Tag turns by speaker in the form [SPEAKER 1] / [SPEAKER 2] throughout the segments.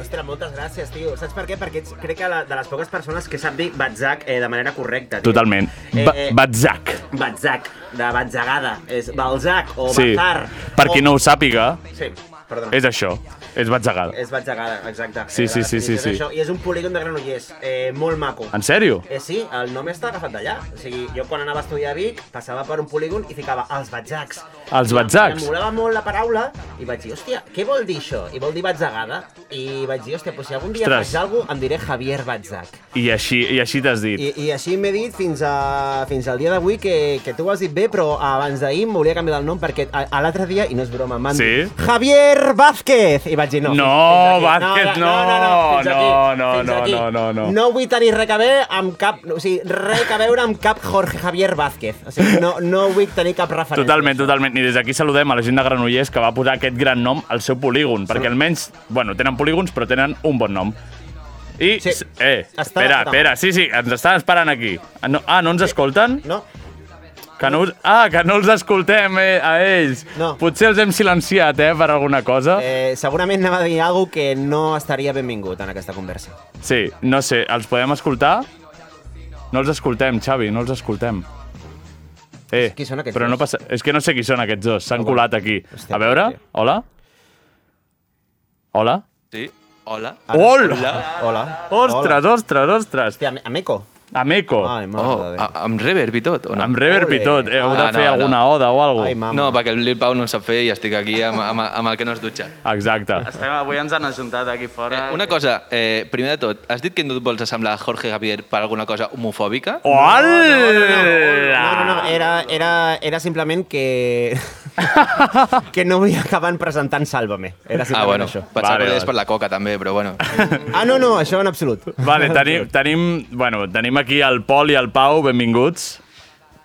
[SPEAKER 1] Ostres, moltes gràcies, tio. Saps per què? Perquè ets, crec que la, de les poques persones que sap dir batzac eh, de manera correcta. Tio.
[SPEAKER 2] Totalment.
[SPEAKER 1] Eh,
[SPEAKER 2] Ba
[SPEAKER 1] eh,
[SPEAKER 2] Batzak.
[SPEAKER 1] Batzac, de batzagada. És balzac o
[SPEAKER 2] Sí.
[SPEAKER 1] bazar.
[SPEAKER 2] Per qui
[SPEAKER 1] o...
[SPEAKER 2] no ho sàpiga,
[SPEAKER 1] Sí, perdona.
[SPEAKER 2] és això. És batzegada.
[SPEAKER 1] És batzagada, exacte.
[SPEAKER 2] Sí,
[SPEAKER 1] Eh,
[SPEAKER 2] sí,
[SPEAKER 1] la
[SPEAKER 2] sí, sí,
[SPEAKER 1] definició és
[SPEAKER 2] sí.
[SPEAKER 1] això. I és un polígon de granollers, eh, molt maco.
[SPEAKER 2] En sèrio?
[SPEAKER 1] Eh, sí, el nom està agafat d'allà. O sigui, jo quan anava a estudiar a Vic, passava per un polígon i ficava els batzacs.
[SPEAKER 2] Els batzacs?
[SPEAKER 1] Em molava molt la paraula i vaig dir, hòstia, què vol dir això? I vol dir batzagada. I vaig dir, hòstia, pues si algun dia
[SPEAKER 2] Ostres.
[SPEAKER 1] faig alguna cosa, em diré Javier Batzac.
[SPEAKER 2] I així, i així t'has dit.
[SPEAKER 1] I, i així m'he dit fins, a, fins al dia d'avui que, que tu ho has dit bé, però abans d'ahir em volia canviar el nom perquè a, a l'altre dia, i no és broma, m'han
[SPEAKER 2] Sí?
[SPEAKER 1] dit Javier Vázquez! I vaig dir no.
[SPEAKER 2] No,
[SPEAKER 1] fins- fins aquí.
[SPEAKER 2] Vázquez, no,
[SPEAKER 1] fins
[SPEAKER 2] no,
[SPEAKER 1] aquí,
[SPEAKER 2] no,
[SPEAKER 1] fins
[SPEAKER 2] no,
[SPEAKER 1] aquí.
[SPEAKER 2] no, no, no.
[SPEAKER 1] No vull tenir res que veure amb cap, o sigui, res que veure amb cap Jorge Javier Vázquez. O sigui, no, no vull tenir cap referència.
[SPEAKER 2] Totalment, totalment. I des d'aquí saludem a la gent de Granollers que va posar aquest gran nom al seu polígon, perquè almenys, bueno, tenen polígons, però tenen un bon nom. I,
[SPEAKER 1] Sí.
[SPEAKER 2] s- eh,
[SPEAKER 1] Està
[SPEAKER 2] espera,
[SPEAKER 1] de puta
[SPEAKER 2] espera, sí, sí, ens estan esperant aquí. Ah, no, ah, no ens escolten?
[SPEAKER 1] No?
[SPEAKER 2] Que no, us- ah, que no els escoltem eh, a ells.
[SPEAKER 1] No.
[SPEAKER 2] Potser els hem silenciat, eh, per alguna cosa.
[SPEAKER 1] Eh, segurament anava a dir alguna cosa que no estaria benvingut en aquesta conversa.
[SPEAKER 2] Sí, no sé, els podem escoltar? No els escoltem, Xavi, no els escoltem. Eh,
[SPEAKER 1] Qui són aquests
[SPEAKER 2] però no
[SPEAKER 1] dos?
[SPEAKER 2] passa... És que no sé qui són aquests dos, s'han
[SPEAKER 1] Ah, bueno.
[SPEAKER 2] colat aquí.
[SPEAKER 1] Hòstia,
[SPEAKER 2] a veure,
[SPEAKER 1] hòstia.
[SPEAKER 2] hola? Hola?
[SPEAKER 3] Sí, hola.
[SPEAKER 2] Hola!
[SPEAKER 1] Hola.
[SPEAKER 2] Ostres, ostres, ostres!
[SPEAKER 1] Hòstia, a- a Meco.
[SPEAKER 2] Ameco,
[SPEAKER 1] Ai, mare
[SPEAKER 3] Oh,
[SPEAKER 1] de Déu.
[SPEAKER 3] a, amb reverb i tot, o no?
[SPEAKER 2] amb reverb i
[SPEAKER 1] Ole.
[SPEAKER 2] tot. Eh, heu de
[SPEAKER 3] Ah, no,
[SPEAKER 2] fer
[SPEAKER 3] no.
[SPEAKER 2] alguna oda o
[SPEAKER 1] Ai,
[SPEAKER 2] alguna
[SPEAKER 1] mama.
[SPEAKER 3] No, perquè el Lil Pau no ho sap fer i estic aquí amb, amb, amb el que no has dutxat.
[SPEAKER 2] Exacte.
[SPEAKER 4] Estem, avui ens han ajuntat aquí
[SPEAKER 3] Eh,
[SPEAKER 4] fora.
[SPEAKER 3] una cosa, eh, primer de tot, has dit que no et vols assemblar a Jorge Javier per alguna cosa homofòbica?
[SPEAKER 1] Oh, No,
[SPEAKER 3] Eh,
[SPEAKER 1] no,
[SPEAKER 2] Hola!
[SPEAKER 3] ah.
[SPEAKER 1] no, eh. era, era, era simplement que... que no vull acabar presentant Sálvame. Era
[SPEAKER 3] Ah,
[SPEAKER 1] simplement
[SPEAKER 3] bueno,
[SPEAKER 1] això.
[SPEAKER 3] pensava vale,
[SPEAKER 2] Vale,
[SPEAKER 3] que ho deies
[SPEAKER 2] vale.
[SPEAKER 3] per la coca també, però bueno.
[SPEAKER 1] Ah, no, no, això en absolut.
[SPEAKER 2] Vale, tenim, tenim, bueno, tenim aquí el Pol i el Pau, benvinguts.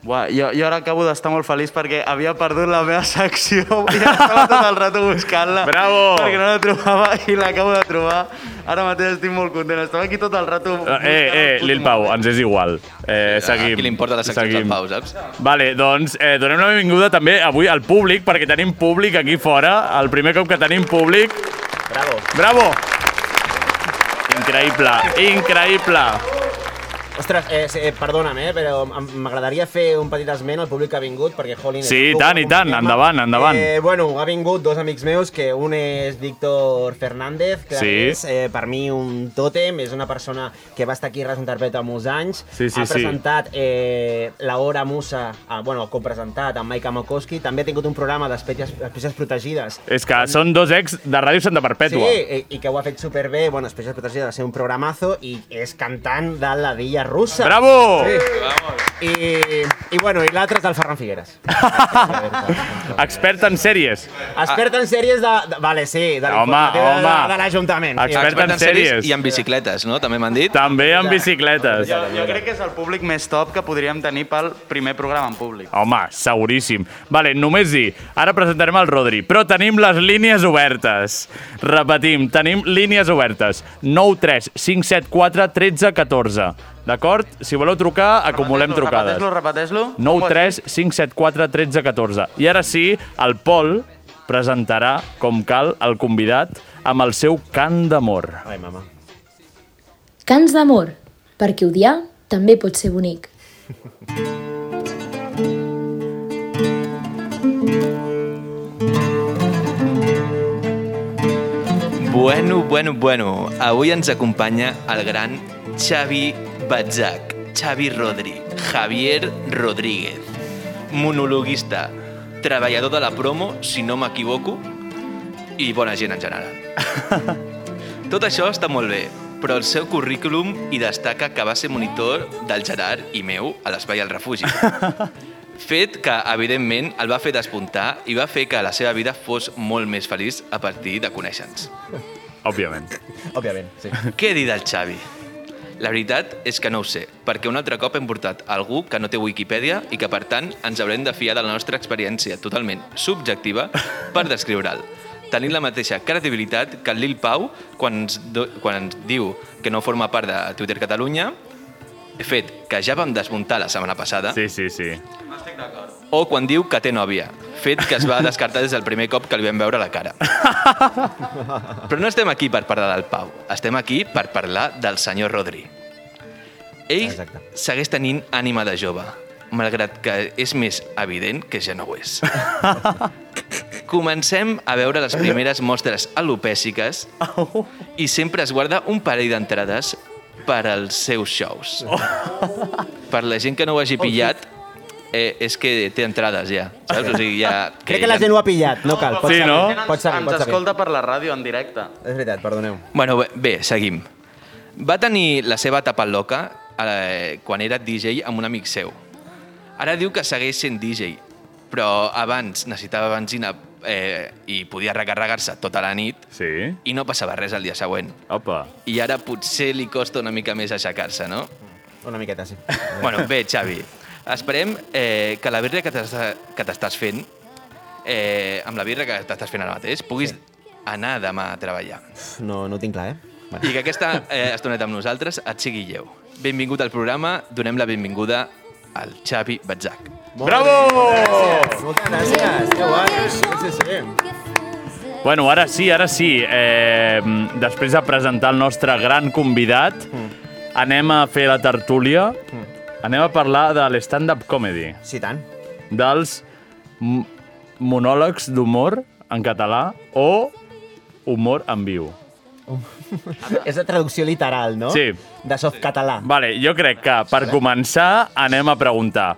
[SPEAKER 4] Uà, jo, jo ara acabo d'estar molt feliç perquè havia perdut la meva secció i estava tot el rato buscant-la.
[SPEAKER 2] Bravo!
[SPEAKER 4] Perquè no la trobava i l'acabo de trobar. Ara mateix estic molt content. Estava aquí tot el rato...
[SPEAKER 2] Eh, eh, eh, Lil Pau, ens és igual. Eh, seguim.
[SPEAKER 3] A qui li importa les seccions
[SPEAKER 2] seguim.
[SPEAKER 3] del Pau, saps?
[SPEAKER 2] Vale, doncs eh, donem la benvinguda també avui al públic, perquè tenim públic aquí fora, el primer cop que tenim públic.
[SPEAKER 1] Bravo.
[SPEAKER 2] Bravo! Increïble, increïble.
[SPEAKER 1] Ostres, eh, sí, eh, perdona'm, eh, però m- m'agradaria fer un petit esment al públic que ha vingut, perquè, jolín...
[SPEAKER 2] Sí,
[SPEAKER 1] és
[SPEAKER 2] i
[SPEAKER 1] un-
[SPEAKER 2] tant, i
[SPEAKER 1] un
[SPEAKER 2] tant.
[SPEAKER 1] tema.
[SPEAKER 2] Endavant, endavant.
[SPEAKER 1] Eh, bueno, ha vingut dos amics meus, que un és Víctor Fernández, que
[SPEAKER 2] Sí.
[SPEAKER 1] és, eh, per mi, un tòtem, és una persona que va estar aquí a Res Interpreta molts anys,
[SPEAKER 2] Sí, sí,
[SPEAKER 1] ha
[SPEAKER 2] sí.
[SPEAKER 1] presentat eh, la Hora Musa, ah, bueno, el copresentat amb Maika Mokoski, també ha tingut un programa d'espècies espècies protegides
[SPEAKER 2] És que són dos ex de Ràdio Santa Perpètua.
[SPEAKER 1] Sí, eh, i, i que ho ha fet superbé. Bueno, Especial Protegida va ser un programazo i és cantant de la Dilla Russa.
[SPEAKER 2] Bravo!
[SPEAKER 1] Sí. I, I bueno, i l'altre és el Ferran Figueres.
[SPEAKER 2] Expert en sèries.
[SPEAKER 1] Expert en sèries de, de... Vale, sí, de
[SPEAKER 2] Home,
[SPEAKER 1] l'informatiu de, de,
[SPEAKER 2] home.
[SPEAKER 1] de l'Ajuntament.
[SPEAKER 2] Expert en sèries.
[SPEAKER 3] I en bicicletes, no? També m'han dit.
[SPEAKER 2] També en bicicletes.
[SPEAKER 4] Jo, jo crec que és el públic més top que podríem tenir pel primer programa en públic.
[SPEAKER 2] Home, seguríssim. Vale, només dir, ara presentarem el Rodri, però tenim les línies obertes. Repetim, tenim línies obertes. 9 3 5 7 4 13 14. D'acord? Si voleu trucar, acumulem
[SPEAKER 4] Repeteix-lo,
[SPEAKER 2] trucades.
[SPEAKER 4] Repeteix-lo, repeteix-lo.
[SPEAKER 2] 9 3 5 7 4 13 14. I ara sí, el Pol presentarà, com cal, el convidat amb el seu cant d'amor.
[SPEAKER 1] Ai, mama.
[SPEAKER 5] Cants d'amor, perquè odiar també pot ser bonic.
[SPEAKER 3] Bueno, bueno, bueno. Avui ens acompanya el gran Xavi Batzac, Xavi Rodri, Javier Rodríguez, monologuista, treballador de la promo, si no m'equivoco, i bona gent en general. Tot això està molt bé, però el seu currículum hi destaca que va ser monitor del Gerard i meu a l'Espai al Refugi. Fet que, evidentment, el va fer despuntar i va fer que la seva vida fos molt més feliç a partir de conèixer-nos.
[SPEAKER 2] Òbviament.
[SPEAKER 1] Òbviament, sí.
[SPEAKER 3] Què dir del Xavi? La veritat és que no ho sé, perquè un altre cop hem portat algú que no té Wikipedia i que, per tant, ens haurem de fiar de la nostra experiència totalment subjectiva per descriure'l, tenint la mateixa credibilitat que el Lil Pau quan ens, do, quan ens diu que no forma part de Twitter Catalunya, fet que ja vam desmuntar la setmana passada,
[SPEAKER 2] Sí, sí, sí.
[SPEAKER 3] o quan diu que té nòvia, fet que es va descartar des del primer cop que li vam veure la cara. Però no estem aquí per parlar del Pau, estem aquí per parlar del senyor Rodri. Ell
[SPEAKER 1] Exacte.
[SPEAKER 3] segueix tenint ànima de jove, malgrat que és més evident que ja no ho és. Comencem a veure les primeres mostres alopèciques i sempre es guarda un parell d'entrades per als seus shows.
[SPEAKER 1] Oh.
[SPEAKER 3] Per la gent que no ho hagi pillat, eh, és que té entrades ja, saps? O sigui, ja,
[SPEAKER 1] Crec que la gent ho ha pillat, no cal. Pots
[SPEAKER 2] Sí,
[SPEAKER 1] seguir,
[SPEAKER 2] no?
[SPEAKER 4] Ens,
[SPEAKER 1] Pots seguir,
[SPEAKER 4] ens
[SPEAKER 1] pots seguir.
[SPEAKER 4] escolta per la ràdio en directe.
[SPEAKER 1] És veritat, perdoneu.
[SPEAKER 3] Bueno, bé, bé, seguim. Va tenir la seva etapa loca eh, quan era DJ amb un amic seu. Ara diu que segueix sent DJ, però abans necessitava benzina eh, i podia recarregar-se tota la nit
[SPEAKER 2] Sí.
[SPEAKER 3] i no passava res el dia següent.
[SPEAKER 2] Opa.
[SPEAKER 3] I ara potser li costa una mica més aixecar-se, no?
[SPEAKER 1] Una miqueta, sí.
[SPEAKER 3] Bueno, bé, Xavi, esperem eh, que la birra que t'està- que t'estàs fent, eh, amb la birra que t'estàs fent ara mateix, puguis anar demà a treballar.
[SPEAKER 1] No, no ho tinc clar, eh?
[SPEAKER 3] I que aquesta eh, estoneta amb nosaltres et sigui lleu. Benvingut al programa, donem la benvinguda al Xavi Batzac.
[SPEAKER 2] Bravo!
[SPEAKER 1] Moltes gràcies, que guai. Sí, sí, sí.
[SPEAKER 2] Bueno, ara sí, ara sí. Eh, després de presentar el nostre gran convidat, anem a fer la tertúlia. Anem a parlar de l'stand-up comedy,
[SPEAKER 1] Sí, tant.
[SPEAKER 2] dels m- monòlegs d'humor en català o humor en viu.
[SPEAKER 1] És la traducció literal, no?
[SPEAKER 2] Sí.
[SPEAKER 1] De soft català.
[SPEAKER 2] Vale, jo crec que per començar anem a preguntar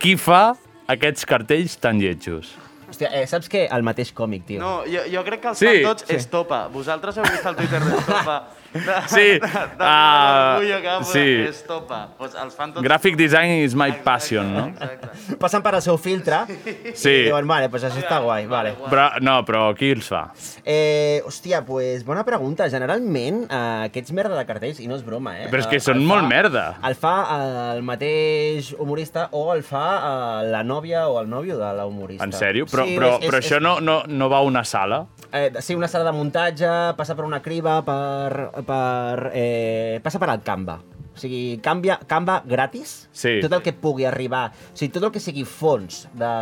[SPEAKER 2] qui fa aquests cartells tan lletjos?
[SPEAKER 1] Hòstia, eh, saps què? El mateix còmic, tio.
[SPEAKER 4] No, jo, jo crec que els
[SPEAKER 2] Sí.
[SPEAKER 4] sí. tots sí. és topa. Vosaltres heu vist el Twitter d'Estopa. De,
[SPEAKER 2] Sí, ah, sí.
[SPEAKER 4] sí. Estopa. Pues els fan tots...
[SPEAKER 2] Graphic design is my passion, no? Ah.
[SPEAKER 4] Exacte.
[SPEAKER 1] Passen per al seu filtre i
[SPEAKER 2] Sí,
[SPEAKER 1] diuen, vale, pues això està guai, vale.
[SPEAKER 2] però, no, però qui els fa?
[SPEAKER 1] Eh, hòstia, pues bona pregunta. Generalment, eh, aquests merda de cartells, i no és broma, eh?
[SPEAKER 2] Però és que
[SPEAKER 1] eh,
[SPEAKER 2] són
[SPEAKER 1] el
[SPEAKER 2] molt merda.
[SPEAKER 1] El fa eh, el mateix humorista o el fa eh, la nòvia o el nòvio de la humorista.
[SPEAKER 2] En sèrio? Però, però, però això no, no, no va a una sala?
[SPEAKER 1] Eh, sí, una sala de muntatge, passa per una criba, per... per eh, passa per el Canva. O sigui, canvia, Canva gratis,
[SPEAKER 2] Sí.
[SPEAKER 1] mm, tot el que pugui arribar, o sigui, tot el que sigui fons de,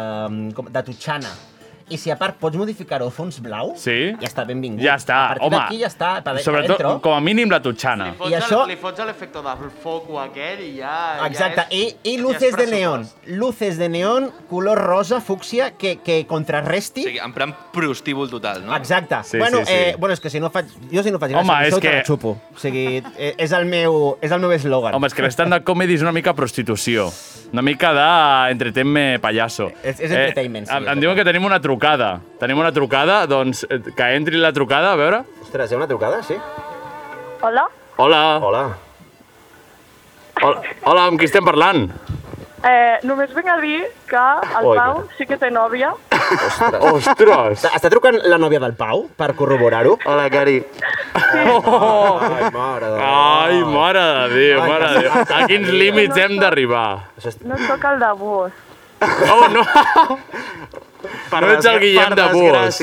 [SPEAKER 1] com- de Tutxana i si a part pots modificar-ho a fons blau,
[SPEAKER 2] Sí.
[SPEAKER 1] ja està benvingut.
[SPEAKER 2] Ja està,
[SPEAKER 1] a partir
[SPEAKER 2] home.
[SPEAKER 1] d'aquí ja està, per,
[SPEAKER 2] Sobretot,
[SPEAKER 1] dentro.
[SPEAKER 2] com a mínim, la totxana.
[SPEAKER 1] I
[SPEAKER 4] Fots
[SPEAKER 1] això-
[SPEAKER 4] el, li fots l'efecte del foco aquell i ja...
[SPEAKER 1] Exacte,
[SPEAKER 4] ja
[SPEAKER 1] i, i luces
[SPEAKER 4] ja és
[SPEAKER 1] de neón.
[SPEAKER 4] pressupost.
[SPEAKER 1] Luces de neón, color rosa, fúcsia, que, que contrarresti...
[SPEAKER 3] O sigui, en plan prostíbul total, no?
[SPEAKER 1] Exacte.
[SPEAKER 2] Sí,
[SPEAKER 1] bueno,
[SPEAKER 2] sí, sí.
[SPEAKER 1] Eh, bueno, és que si no faig... Jo si no faig gràcia,
[SPEAKER 2] Home,
[SPEAKER 1] això
[SPEAKER 2] és
[SPEAKER 1] te la
[SPEAKER 2] que-
[SPEAKER 1] xupo. O sigui, eh, és el meu és el meu eslògan.
[SPEAKER 2] Home, és que l'stand-up comedy és una mica prostitució. Una mica de entretenme payaso.
[SPEAKER 1] És- és entertainment, sí,
[SPEAKER 2] em,
[SPEAKER 1] és
[SPEAKER 2] em diuen que tenim una trucada. Tenim una trucada, doncs eh, que entri la trucada, a veure.
[SPEAKER 1] Ostres, hi ha una trucada, sí?
[SPEAKER 6] Hola,
[SPEAKER 2] Hola.
[SPEAKER 1] Hola.
[SPEAKER 2] Hola, Hola amb qui estem parlant?
[SPEAKER 6] eh, només vinc a dir que el
[SPEAKER 1] Oi,
[SPEAKER 6] Pau sí que té nòvia.
[SPEAKER 2] Ostres!
[SPEAKER 1] Està, està trucant la nòvia del Pau per corroborar-ho?
[SPEAKER 4] Hola, Cari.
[SPEAKER 1] Ai, mare de...
[SPEAKER 2] Oh! Ai, mare de Déu,
[SPEAKER 1] Ai,
[SPEAKER 2] mare de Déu.
[SPEAKER 1] mare
[SPEAKER 2] A quins límits hem d'arribar?
[SPEAKER 6] No sóc el de vos.
[SPEAKER 2] Oh, no! No ets el Guillem de Bus.
[SPEAKER 4] Bus.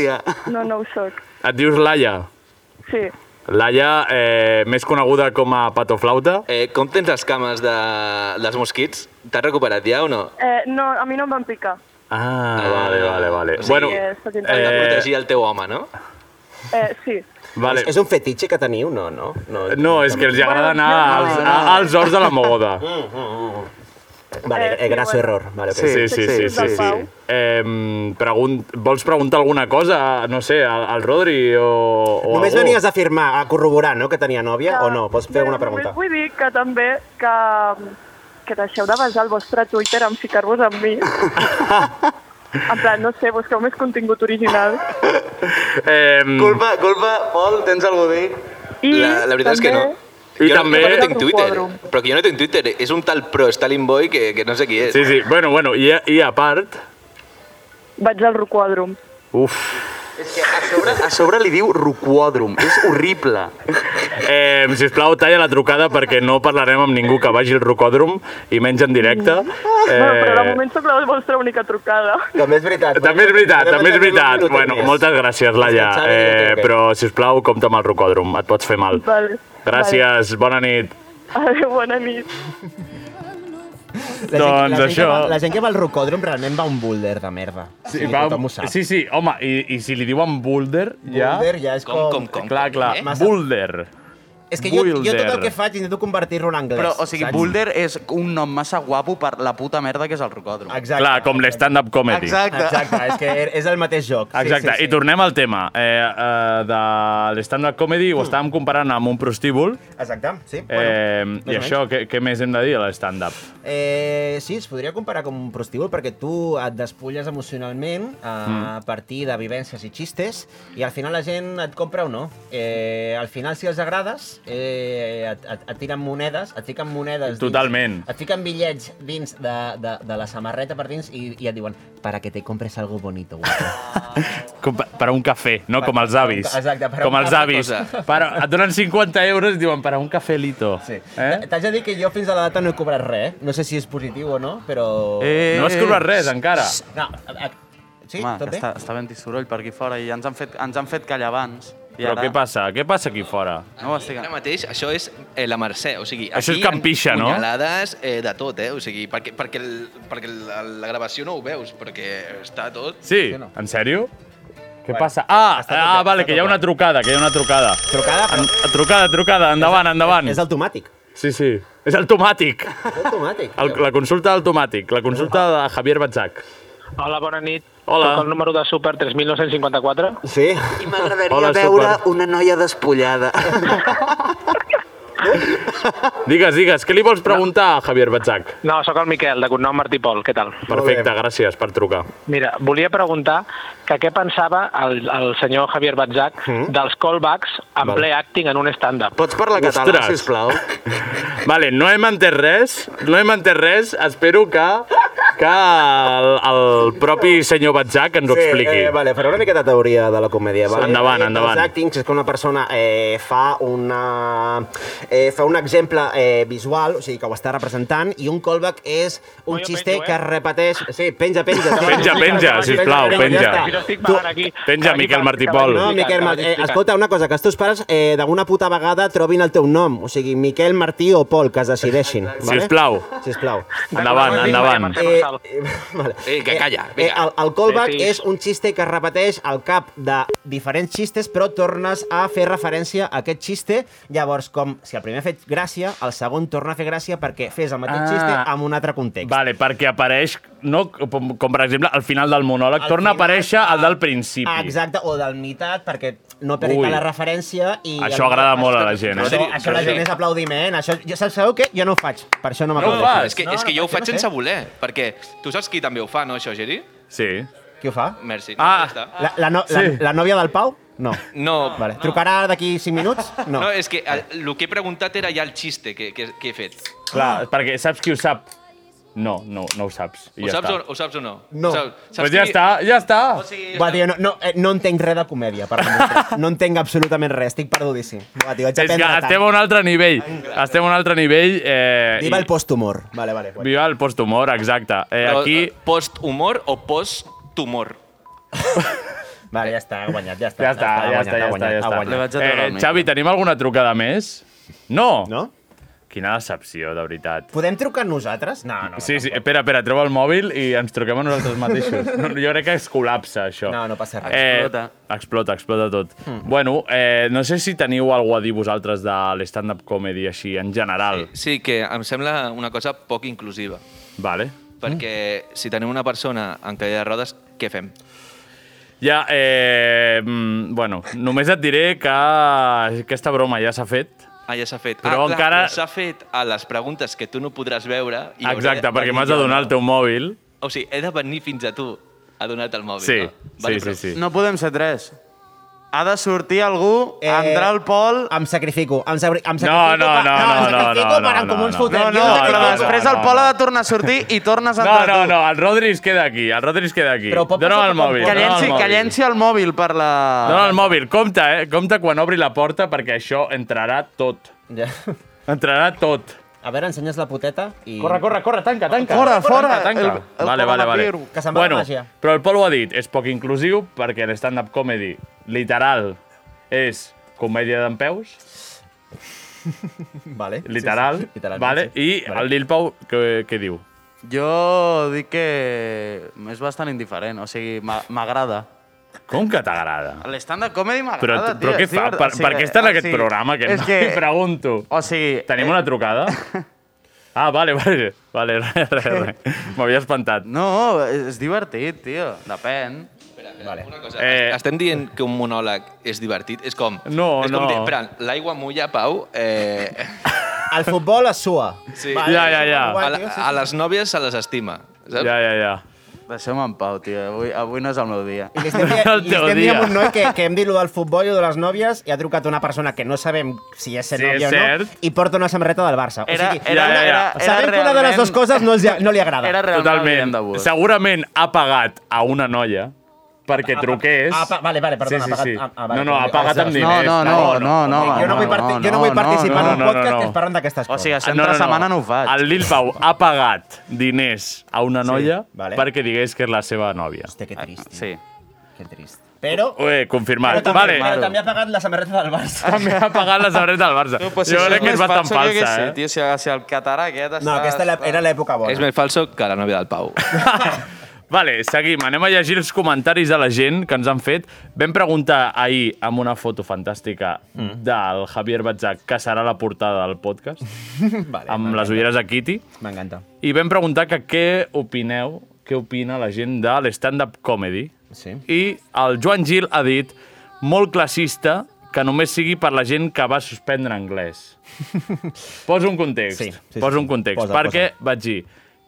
[SPEAKER 6] No, no ho sóc.
[SPEAKER 2] Et dius Laia.
[SPEAKER 6] Sí.
[SPEAKER 2] Laia, eh, més coneguda com a patoflauta.
[SPEAKER 3] Eh, com tens les cames de... dels mosquits? T'has recuperat ja o no?
[SPEAKER 6] Eh, no, a mi no em van picar.
[SPEAKER 2] Ah, vale, vale, vale.
[SPEAKER 3] O sigui,
[SPEAKER 2] bueno,
[SPEAKER 6] Eh, sóc
[SPEAKER 3] Has de
[SPEAKER 6] intel·ligent.
[SPEAKER 2] Eh.
[SPEAKER 3] protegir el teu home, no?
[SPEAKER 6] Eh, sí.
[SPEAKER 2] vale.
[SPEAKER 1] És un fetitxe que teniu? No, no. No,
[SPEAKER 2] No, Mm. és que els agrada anar als, a, als horts de la mogoda.
[SPEAKER 1] Vale, eh,
[SPEAKER 6] sí,
[SPEAKER 1] grasso
[SPEAKER 6] bueno.
[SPEAKER 1] error. Vale, okay.
[SPEAKER 2] Sí, sí, sí. sí, sí. Eh, pregun vols preguntar alguna cosa, no sé, al, al Rodri o, o
[SPEAKER 1] Només
[SPEAKER 2] algú?
[SPEAKER 1] venies a afirmar, a corroborar, no?, que tenia nòvia, o no? Pots fer
[SPEAKER 6] Bé,
[SPEAKER 1] alguna pregunta?
[SPEAKER 6] Només vull dir que també que que deixeu de basar el vostre Twitter en ficar-vos amb mi. en plan, no sé, busqueu més contingut original.
[SPEAKER 2] Eh,
[SPEAKER 4] Culpa, culpa, Pol, tens algú a dir?
[SPEAKER 6] I
[SPEAKER 3] La, la veritat és que no.
[SPEAKER 2] I
[SPEAKER 3] jo,
[SPEAKER 2] també-
[SPEAKER 3] No, jo no tinc
[SPEAKER 6] Quadro,
[SPEAKER 3] Twitter,
[SPEAKER 6] quadro.
[SPEAKER 3] però que jo no tinc Twitter. És un tal pro Stalin Boy que, que no sé qui és.
[SPEAKER 2] Sí, sí, bueno, bueno, i a, i a part...
[SPEAKER 6] Vaig al Ruquòdrom.
[SPEAKER 2] Uf.
[SPEAKER 4] És que a sobre, a sobre li diu ruquòdrom. És horrible.
[SPEAKER 2] Eh, sisplau, talla la trucada perquè no parlarem amb ningú que vagi al rocòdrom i menys en directe.
[SPEAKER 6] Eh... Bueno, però de
[SPEAKER 2] Eh,
[SPEAKER 6] moment sóc la vostra única trucada.
[SPEAKER 1] També és veritat.
[SPEAKER 2] també és veritat, també és
[SPEAKER 1] tenim un
[SPEAKER 2] veritat.
[SPEAKER 1] minutet
[SPEAKER 2] Bueno,
[SPEAKER 1] més.
[SPEAKER 2] moltes gràcies, Laia.
[SPEAKER 1] Descansar,
[SPEAKER 2] Eh,
[SPEAKER 1] vinga,
[SPEAKER 2] però, sisplau, compta amb el rocòdrom, et pots fer mal.
[SPEAKER 6] Vale.
[SPEAKER 2] Gràcies, bona nit.
[SPEAKER 6] Vale. Adéu, bona nit.
[SPEAKER 1] La gent- la
[SPEAKER 2] Doncs
[SPEAKER 1] gent que
[SPEAKER 2] això.
[SPEAKER 1] va- La gent que va al rocòdrom realment va a un boulder de merda. Sí, va... Tothom ho sap.
[SPEAKER 2] sí, sí, home, i, i si li diuen Boulder, ja...
[SPEAKER 1] Boulder ja és
[SPEAKER 3] Com,
[SPEAKER 1] com...
[SPEAKER 3] com, com?
[SPEAKER 2] Clar, clar,
[SPEAKER 3] Eh?
[SPEAKER 1] Massa-
[SPEAKER 2] Boulder.
[SPEAKER 1] És que jo, jo tot
[SPEAKER 2] Boulder.
[SPEAKER 1] el que faig intento convertir-ho en anglès.
[SPEAKER 4] Però, o sigui,
[SPEAKER 1] saps?
[SPEAKER 4] Boulder és un nom massa guapo per la puta merda que és el rocòdrom.
[SPEAKER 1] Exacte.
[SPEAKER 2] Clar, com l'stand-up comedy.
[SPEAKER 4] Exacte.
[SPEAKER 1] Exacte, és que er- és el mateix joc. Sí,
[SPEAKER 2] Exacte,
[SPEAKER 1] sí, sí.
[SPEAKER 2] i tornem al tema eh, eh, de l'stand-up comedy,
[SPEAKER 1] Mm.
[SPEAKER 2] ho estàvem comparant amb un prostíbul,
[SPEAKER 1] Exacte, sí.
[SPEAKER 2] eh, i
[SPEAKER 1] més o
[SPEAKER 2] això, què, què més hem de dir a l'stand-up?
[SPEAKER 1] Eh, sí, es podria comparar com un prostíbul perquè tu et despulles emocionalment eh, a partir de vivències i xistes i al final la gent et compra o no. Eh, al final, si els agrades, eh, et, et, et tiren monedes, et fiquen monedes...
[SPEAKER 2] Totalment.
[SPEAKER 1] Dins, et fiquen bitllets dins de, de, de la samarreta per dins i, i et diuen para que te compres algo bonito. guapo."
[SPEAKER 2] Com per, per un cafè, no?
[SPEAKER 1] Per-
[SPEAKER 2] com els avis.
[SPEAKER 1] exacte, per
[SPEAKER 2] com
[SPEAKER 1] un
[SPEAKER 2] els
[SPEAKER 1] cafè,
[SPEAKER 2] avis.
[SPEAKER 3] cosa.
[SPEAKER 2] Per, et donen 50 euros i diuen per a un cafelito.
[SPEAKER 1] Sí. Eh?
[SPEAKER 2] Eh?
[SPEAKER 1] T'haig de dir que jo fins a la data no he cobrat res. eh? No sé si és positiu o no, però...
[SPEAKER 4] Eh,
[SPEAKER 2] No has cobrat res, encara.
[SPEAKER 1] No, a, a... Sí,
[SPEAKER 4] Home,
[SPEAKER 1] tot
[SPEAKER 4] que
[SPEAKER 1] bé?
[SPEAKER 4] està, està ben soroll per aquí fora i ens han fet, ens han fet callar abans. I
[SPEAKER 2] Però
[SPEAKER 4] ara-
[SPEAKER 2] què passa? Què passa aquí fora?
[SPEAKER 4] No, estic...
[SPEAKER 3] Ara mateix, això és eh, la Mercè, o sigui...
[SPEAKER 2] Això és
[SPEAKER 3] aquí
[SPEAKER 2] Can Pixa, no?
[SPEAKER 3] Punyalades eh, de tot, eh? O sigui, perquè, perquè, el, perquè la, la gravació no ho veus, perquè està tot...
[SPEAKER 2] Sí,
[SPEAKER 1] no?
[SPEAKER 2] en sèrio? Què
[SPEAKER 1] Bueno,
[SPEAKER 2] passa? Ah,
[SPEAKER 1] està tot
[SPEAKER 2] ah,
[SPEAKER 1] bé,
[SPEAKER 2] vale,
[SPEAKER 1] està
[SPEAKER 2] que hi ha
[SPEAKER 1] tot
[SPEAKER 2] una
[SPEAKER 1] bé.
[SPEAKER 2] trucada, que hi ha una trucada.
[SPEAKER 1] Trucada, però...
[SPEAKER 2] En, trucada, trucada, endavant, endavant.
[SPEAKER 1] És automàtic.
[SPEAKER 2] Sí, sí. És el tomàtic.
[SPEAKER 1] És automàtic.
[SPEAKER 2] El, la consulta del tomàtic, la consulta de Javier Batzac.
[SPEAKER 7] Hola, bona nit.
[SPEAKER 2] Hola.
[SPEAKER 7] Sóc el número de Super 3954.
[SPEAKER 1] Sí.
[SPEAKER 8] I
[SPEAKER 2] Hola,
[SPEAKER 8] m'agradaria
[SPEAKER 2] veure súper.
[SPEAKER 8] una noia despullada.
[SPEAKER 2] Digues, digues, què li vols preguntar a Javier Batzac?
[SPEAKER 7] No, sóc el Miquel, de cognom Martí Pol. Què tal?
[SPEAKER 2] Perfecte, gràcies per trucar.
[SPEAKER 7] Mira, volia preguntar que què pensava el, el senyor Javier Batzac mm? dels callbacks en
[SPEAKER 2] Val.
[SPEAKER 7] ple acting en un stand-up.
[SPEAKER 4] Pots parlar català,
[SPEAKER 2] Ostres.
[SPEAKER 4] sisplau?
[SPEAKER 2] Vale, no hem entès res, no hem entès res, espero que, que el, el propi senyor Batzac ens ho expliqui.
[SPEAKER 1] Eh, vale, faré una miqueta de teoria de la comèdia. Vale?
[SPEAKER 2] Endavant,
[SPEAKER 1] eh,
[SPEAKER 2] endavant.
[SPEAKER 1] Els actings és que una persona eh, fa, una, eh, fa un exemple eh, visual, o sigui, que ho està representant, i un callback és un
[SPEAKER 7] Oi, jo
[SPEAKER 1] xiste
[SPEAKER 7] penjo, eh?
[SPEAKER 1] que es repeteix... Sí, penja, penja. sí.
[SPEAKER 2] Penja, penja, sisplau, penja.
[SPEAKER 1] ja
[SPEAKER 7] Si no
[SPEAKER 1] està.
[SPEAKER 7] estic pagant aquí...
[SPEAKER 2] penja,
[SPEAKER 7] aquí
[SPEAKER 2] Miquel
[SPEAKER 7] pagant,
[SPEAKER 2] Martí
[SPEAKER 7] que
[SPEAKER 2] Pol.
[SPEAKER 7] vaig
[SPEAKER 1] No,
[SPEAKER 7] explicant,
[SPEAKER 1] Miquel,
[SPEAKER 7] que
[SPEAKER 1] Mar
[SPEAKER 7] vaig
[SPEAKER 1] eh,
[SPEAKER 7] explicant.
[SPEAKER 1] escolta, una cosa, que els teus pares eh, d'alguna puta vegada trobin el teu nom, o sigui, Miquel, Martí o Pol, que es decideixin. Vale?
[SPEAKER 2] Sisplau.
[SPEAKER 1] Sisplau.
[SPEAKER 2] Endavant, endavant.
[SPEAKER 1] Eh,
[SPEAKER 7] Sal.
[SPEAKER 1] Vale.
[SPEAKER 3] Eh, que calla,
[SPEAKER 1] Eh,
[SPEAKER 3] vinga.
[SPEAKER 1] el, el callback
[SPEAKER 7] Sí, sí.
[SPEAKER 1] és un xiste que es repeteix al cap de diferents xistes, però tornes a fer referència a aquest xiste. Llavors, com si el primer ha fet gràcia, el segon torna a fer gràcia perquè fes el mateix
[SPEAKER 2] Ah.
[SPEAKER 1] xiste amb un altre context.
[SPEAKER 2] Vale, perquè apareix, no? com, com per exemple al final del monòleg,
[SPEAKER 1] Al
[SPEAKER 2] torna a
[SPEAKER 1] final, Ah,
[SPEAKER 2] aparèixer el del principi.
[SPEAKER 1] Exacte, o del meitat, perquè no perdi
[SPEAKER 2] Ui.
[SPEAKER 1] la referència. I
[SPEAKER 2] Això agrada molt a la gent, eh?
[SPEAKER 1] Això,
[SPEAKER 2] Rodri-
[SPEAKER 1] això la gent
[SPEAKER 2] Rodri-
[SPEAKER 1] és aplaudiment. Això, ja saps, sabeu què? Jo no ho faig, per això no
[SPEAKER 3] No, no,
[SPEAKER 1] m'aplaudeixo.
[SPEAKER 3] és que, és que jo ho faig sense voler, perquè tu saps qui també ho fa, no, això, Geri?
[SPEAKER 2] Sí.
[SPEAKER 1] Qui ho fa?
[SPEAKER 3] Merci. Ah,
[SPEAKER 1] La, la, no, la,
[SPEAKER 3] Sí.
[SPEAKER 1] la nòvia del Pau? No.
[SPEAKER 3] No.
[SPEAKER 1] Vale. Trucarà d'aquí 5 minuts?
[SPEAKER 3] No.
[SPEAKER 1] No.
[SPEAKER 3] no, és que el, el que he preguntat era ja el xiste que, que, que he fet.
[SPEAKER 2] Clar, perquè saps qui ho sap? No, no, no ho saps. I
[SPEAKER 3] Ho,
[SPEAKER 2] ja
[SPEAKER 3] saps o,
[SPEAKER 2] està.
[SPEAKER 3] ho saps o no?
[SPEAKER 1] No.
[SPEAKER 3] Ho Saps, saps
[SPEAKER 2] Doncs ja està, ja està.
[SPEAKER 1] Buah, tio, no, no, eh, no entenc res de comèdia, per moment. no entenc absolutament res, estic perdudíssim. Buah, tio, haig
[SPEAKER 2] És que
[SPEAKER 1] d'aprendre tant.
[SPEAKER 2] estem a un altre nivell. Estem a un altre nivell. Eh,
[SPEAKER 1] Viva
[SPEAKER 2] i-
[SPEAKER 1] el posthumor. Vale, vale. bueno.
[SPEAKER 2] Viva el posthumor, exacte. Eh,
[SPEAKER 3] Però,
[SPEAKER 2] aquí...
[SPEAKER 3] Post-humor o post-tumor?
[SPEAKER 1] Vale, ja està, ha guanyat, ja està.
[SPEAKER 2] Ja està,
[SPEAKER 1] ha
[SPEAKER 2] ja
[SPEAKER 1] guanyat,
[SPEAKER 2] està, ja està.
[SPEAKER 1] ha guanyat,
[SPEAKER 2] Ja
[SPEAKER 1] ha
[SPEAKER 2] està.
[SPEAKER 1] guanyat.
[SPEAKER 2] Eh, Xavi, tenim alguna trucada més? No!
[SPEAKER 1] No?
[SPEAKER 2] Quina decepció, de veritat.
[SPEAKER 1] Podem trucar nosaltres? No, no.
[SPEAKER 2] Sí, sí, espera, espera, treu el mòbil i ens truquem a nosaltres mateixos. No, jo crec que es col·lapsa, això.
[SPEAKER 1] No, no passa res.
[SPEAKER 2] Explota. Eh, Explota, explota tot. Mm. Bueno, eh, no sé si teniu alguna a dir vosaltres de l'stand-up comedy així, en general.
[SPEAKER 3] Sí, que em sembla una cosa poc inclusiva.
[SPEAKER 2] Vale.
[SPEAKER 3] Perquè si tenim una persona en cadira de rodes, què fem?
[SPEAKER 2] Ja, eh, mm, bueno, només et diré que aquesta broma ja s'ha fet.
[SPEAKER 3] Ah, ja s'ha fet.
[SPEAKER 2] Però
[SPEAKER 3] ah, clar,
[SPEAKER 2] encara-
[SPEAKER 3] però S'ha fet a les preguntes que tu no podràs veure. I hauré
[SPEAKER 2] Exacte,
[SPEAKER 3] de
[SPEAKER 2] perquè
[SPEAKER 3] venir
[SPEAKER 2] m'has de
[SPEAKER 3] jo,
[SPEAKER 2] donar el teu mòbil.
[SPEAKER 3] O sigui, he de venir fins a tu a donar-te el mòbil.
[SPEAKER 2] Sí,
[SPEAKER 3] no?
[SPEAKER 2] sí, sí,
[SPEAKER 3] però-
[SPEAKER 2] sí.
[SPEAKER 4] No podem ser tres. Ha de sortir algú,
[SPEAKER 1] Eh,
[SPEAKER 4] eh... entrar al Pol...
[SPEAKER 1] Em sacrifico, em, sabri- em sacrifico.
[SPEAKER 2] No, no,
[SPEAKER 1] per-
[SPEAKER 2] no,
[SPEAKER 1] em
[SPEAKER 2] no,
[SPEAKER 1] sacrifico
[SPEAKER 2] no, no,
[SPEAKER 1] per en
[SPEAKER 2] no,
[SPEAKER 1] Comuns
[SPEAKER 2] no.
[SPEAKER 1] Fotem.
[SPEAKER 4] No,
[SPEAKER 1] Jo em
[SPEAKER 4] no, però
[SPEAKER 1] sacrifico.
[SPEAKER 4] després
[SPEAKER 2] no,
[SPEAKER 4] el
[SPEAKER 2] no,
[SPEAKER 4] Pol
[SPEAKER 2] no.
[SPEAKER 4] ha de tornar a sortir i tornes a
[SPEAKER 2] No,
[SPEAKER 4] entrar
[SPEAKER 2] no,
[SPEAKER 4] tu.
[SPEAKER 2] no, el Rodri es queda aquí, el Rodri es queda aquí.
[SPEAKER 1] Però pot
[SPEAKER 2] Dóna'm
[SPEAKER 1] passar
[SPEAKER 2] el mòbil.
[SPEAKER 4] Que
[SPEAKER 2] Dóna'm el
[SPEAKER 4] llenci, que
[SPEAKER 2] mòbil.
[SPEAKER 4] llenci el mòbil per la...
[SPEAKER 2] Dóna el mòbil, compte, eh? Compte quan obri la porta perquè això entrarà tot.
[SPEAKER 1] Ja.
[SPEAKER 2] Entrarà tot.
[SPEAKER 1] A veure, ensenyes la poteta i...
[SPEAKER 2] Corre, corre, corre, tanca, tanca.
[SPEAKER 4] Fora, fora,
[SPEAKER 2] Tanca, tanca.
[SPEAKER 4] el- el
[SPEAKER 2] vale, vale, vale.
[SPEAKER 4] coronavirus.
[SPEAKER 1] Que se'n va la
[SPEAKER 2] bueno,
[SPEAKER 1] màgia.
[SPEAKER 2] però el Pol ho ha dit, és poc inclusiu perquè l'stand-up comedy, literal, és comèdia d'en peus,
[SPEAKER 1] Vale. sí, sí.
[SPEAKER 2] literal,
[SPEAKER 1] Literalment,
[SPEAKER 2] vale?
[SPEAKER 1] sí.
[SPEAKER 2] i el Lil Pau, què, què diu?
[SPEAKER 4] Jo dic que és bastant indiferent, o sigui, m'a- m'agrada.
[SPEAKER 2] Com que t'agrada?
[SPEAKER 4] L'esstand-up comedy m'agrada,
[SPEAKER 2] Però,
[SPEAKER 4] tio,
[SPEAKER 2] però què
[SPEAKER 4] és
[SPEAKER 2] fa?
[SPEAKER 4] divert-
[SPEAKER 2] Per,
[SPEAKER 4] o sigui,
[SPEAKER 2] per què està en
[SPEAKER 4] o
[SPEAKER 2] aquest
[SPEAKER 4] sigui,
[SPEAKER 2] programa? Que
[SPEAKER 4] és
[SPEAKER 2] no
[SPEAKER 4] que,
[SPEAKER 2] li pregunto.
[SPEAKER 4] o sigui, eh,
[SPEAKER 2] Tenim una trucada? Ah, vale, vale. Vale, res, res, res. M'havia espantat.
[SPEAKER 4] no, és és divertit, tio, depèn.
[SPEAKER 1] Vale.
[SPEAKER 3] Una cosa,
[SPEAKER 2] Eh,
[SPEAKER 3] eh... Estem dient que un monòleg és divertit? És com...
[SPEAKER 2] No,
[SPEAKER 3] és com
[SPEAKER 2] no.
[SPEAKER 3] dir, Espera, l'aigua mulla, Pau. Eh,
[SPEAKER 1] El futbol es sua.
[SPEAKER 3] sí.
[SPEAKER 2] Vale, Ja, ja, ja.
[SPEAKER 3] A, la, a les nòvies se les estima. Saps?
[SPEAKER 2] Ja, ja, ja.
[SPEAKER 4] Deixeu-me en pau, tio, avui, avui no és el meu dia.
[SPEAKER 1] I li estem, dient,
[SPEAKER 2] El
[SPEAKER 1] li estem
[SPEAKER 2] teu
[SPEAKER 1] dient
[SPEAKER 2] dia.
[SPEAKER 1] a un noi que, que hem dit lo del futbol i lo de les nòvies i ha trucat una persona que no sabem si és ser
[SPEAKER 2] Sí,
[SPEAKER 1] nòvia
[SPEAKER 2] és
[SPEAKER 1] o no
[SPEAKER 2] cert.
[SPEAKER 1] i porta una samarreta del Barça.
[SPEAKER 4] Era,
[SPEAKER 1] o sigui,
[SPEAKER 4] era,
[SPEAKER 2] ja, ja,
[SPEAKER 4] era,
[SPEAKER 2] ja.
[SPEAKER 4] era,
[SPEAKER 1] sabem que una de les
[SPEAKER 4] realment-
[SPEAKER 1] dues coses no, els, no li agrada.
[SPEAKER 4] Era realment el
[SPEAKER 2] Totalment.
[SPEAKER 4] dia d'avui.
[SPEAKER 2] Segurament ha pagat a una noia perquè truqués.
[SPEAKER 1] Ah, pa, vale, vale, perdona.
[SPEAKER 2] sí, sí, sí.
[SPEAKER 1] ha pagat- ah, vale,
[SPEAKER 2] no, no, ha pagat amb
[SPEAKER 4] No,
[SPEAKER 2] diners.
[SPEAKER 4] no, no, no, no.
[SPEAKER 1] jo no vull, parti jo no vull participar
[SPEAKER 2] no,
[SPEAKER 1] en
[SPEAKER 2] no,
[SPEAKER 1] un
[SPEAKER 2] no,
[SPEAKER 1] podcast
[SPEAKER 2] no.
[SPEAKER 1] que es parlen d'aquestes
[SPEAKER 4] O
[SPEAKER 1] coses.
[SPEAKER 2] Ah,
[SPEAKER 4] sigui, això entre setmana no ho faig.
[SPEAKER 2] El Lil Pau ha pagat diners a una noia
[SPEAKER 1] vale.
[SPEAKER 2] perquè digués que és la seva nòvia.
[SPEAKER 1] Hòstia, que trist, tio,
[SPEAKER 4] Sí.
[SPEAKER 1] que trist. Però,
[SPEAKER 2] Ué,
[SPEAKER 1] però,
[SPEAKER 2] confirmat.
[SPEAKER 1] també,
[SPEAKER 2] vale.
[SPEAKER 1] però també ha pagat la samarreta del Barça.
[SPEAKER 2] També ha pagat la sabreta del Barça. jo crec que és bastant falsa, eh?
[SPEAKER 4] Tio, si, si el català aquest està...
[SPEAKER 1] No, aquesta la- era l'època bona.
[SPEAKER 3] És més falso que la nòvia del Pau.
[SPEAKER 2] Vale, seguim. Anem a llegir els comentaris de la gent que ens han fet. Vam preguntar ahir amb una foto fantàstica mm. del Javier Batzac, que serà la portada del podcast,
[SPEAKER 1] Vale,
[SPEAKER 2] amb les ulleres de Kitty,
[SPEAKER 1] M'encanta.
[SPEAKER 2] i vam preguntar que què opineu, què opina la gent de l'stand-up comedy.
[SPEAKER 1] Sí.
[SPEAKER 2] I el Joan Gil ha dit, molt classista, que només sigui per la gent que va suspendre anglès. Posa un context.
[SPEAKER 1] Sí, sí, sí,
[SPEAKER 2] posa un
[SPEAKER 1] sí.
[SPEAKER 2] context.
[SPEAKER 1] Posa,
[SPEAKER 2] perquè vaig dir,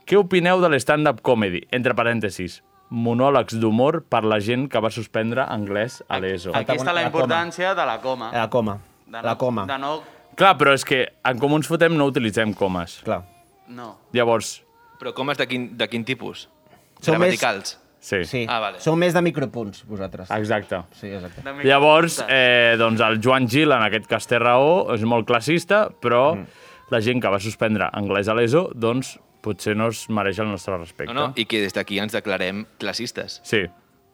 [SPEAKER 2] què opineu de l'stand-up comedy? Entre parèntesis, monòlegs d'humor per la gent que va suspendre anglès a l'ESO.
[SPEAKER 4] Aquí està
[SPEAKER 1] La
[SPEAKER 4] la
[SPEAKER 1] coma.
[SPEAKER 4] importància de la coma.
[SPEAKER 1] La coma.
[SPEAKER 4] De no,
[SPEAKER 1] La coma.
[SPEAKER 4] De no...
[SPEAKER 2] Clar, però és que en Comuns Fotem no utilitzem comes.
[SPEAKER 1] Clar.
[SPEAKER 4] No.
[SPEAKER 2] Llavors,
[SPEAKER 3] Però com és de quin, de quin tipus?
[SPEAKER 1] Som més-
[SPEAKER 3] Gramaticals.
[SPEAKER 2] sí.
[SPEAKER 1] Sí.
[SPEAKER 3] Ah, vale.
[SPEAKER 1] Sou més de micropunts, vosaltres.
[SPEAKER 2] Exacte.
[SPEAKER 1] Sí, exacte.
[SPEAKER 4] De micro-
[SPEAKER 2] Llavors, eh, doncs el Joan Gil, en aquest cas té raó, és molt classista, però
[SPEAKER 1] Mm.
[SPEAKER 2] la gent que va suspendre anglès a l'ESO, doncs potser no es mereix el nostre respecte.
[SPEAKER 3] No, no, i que des d'aquí ens declarem classistes.
[SPEAKER 2] Sí.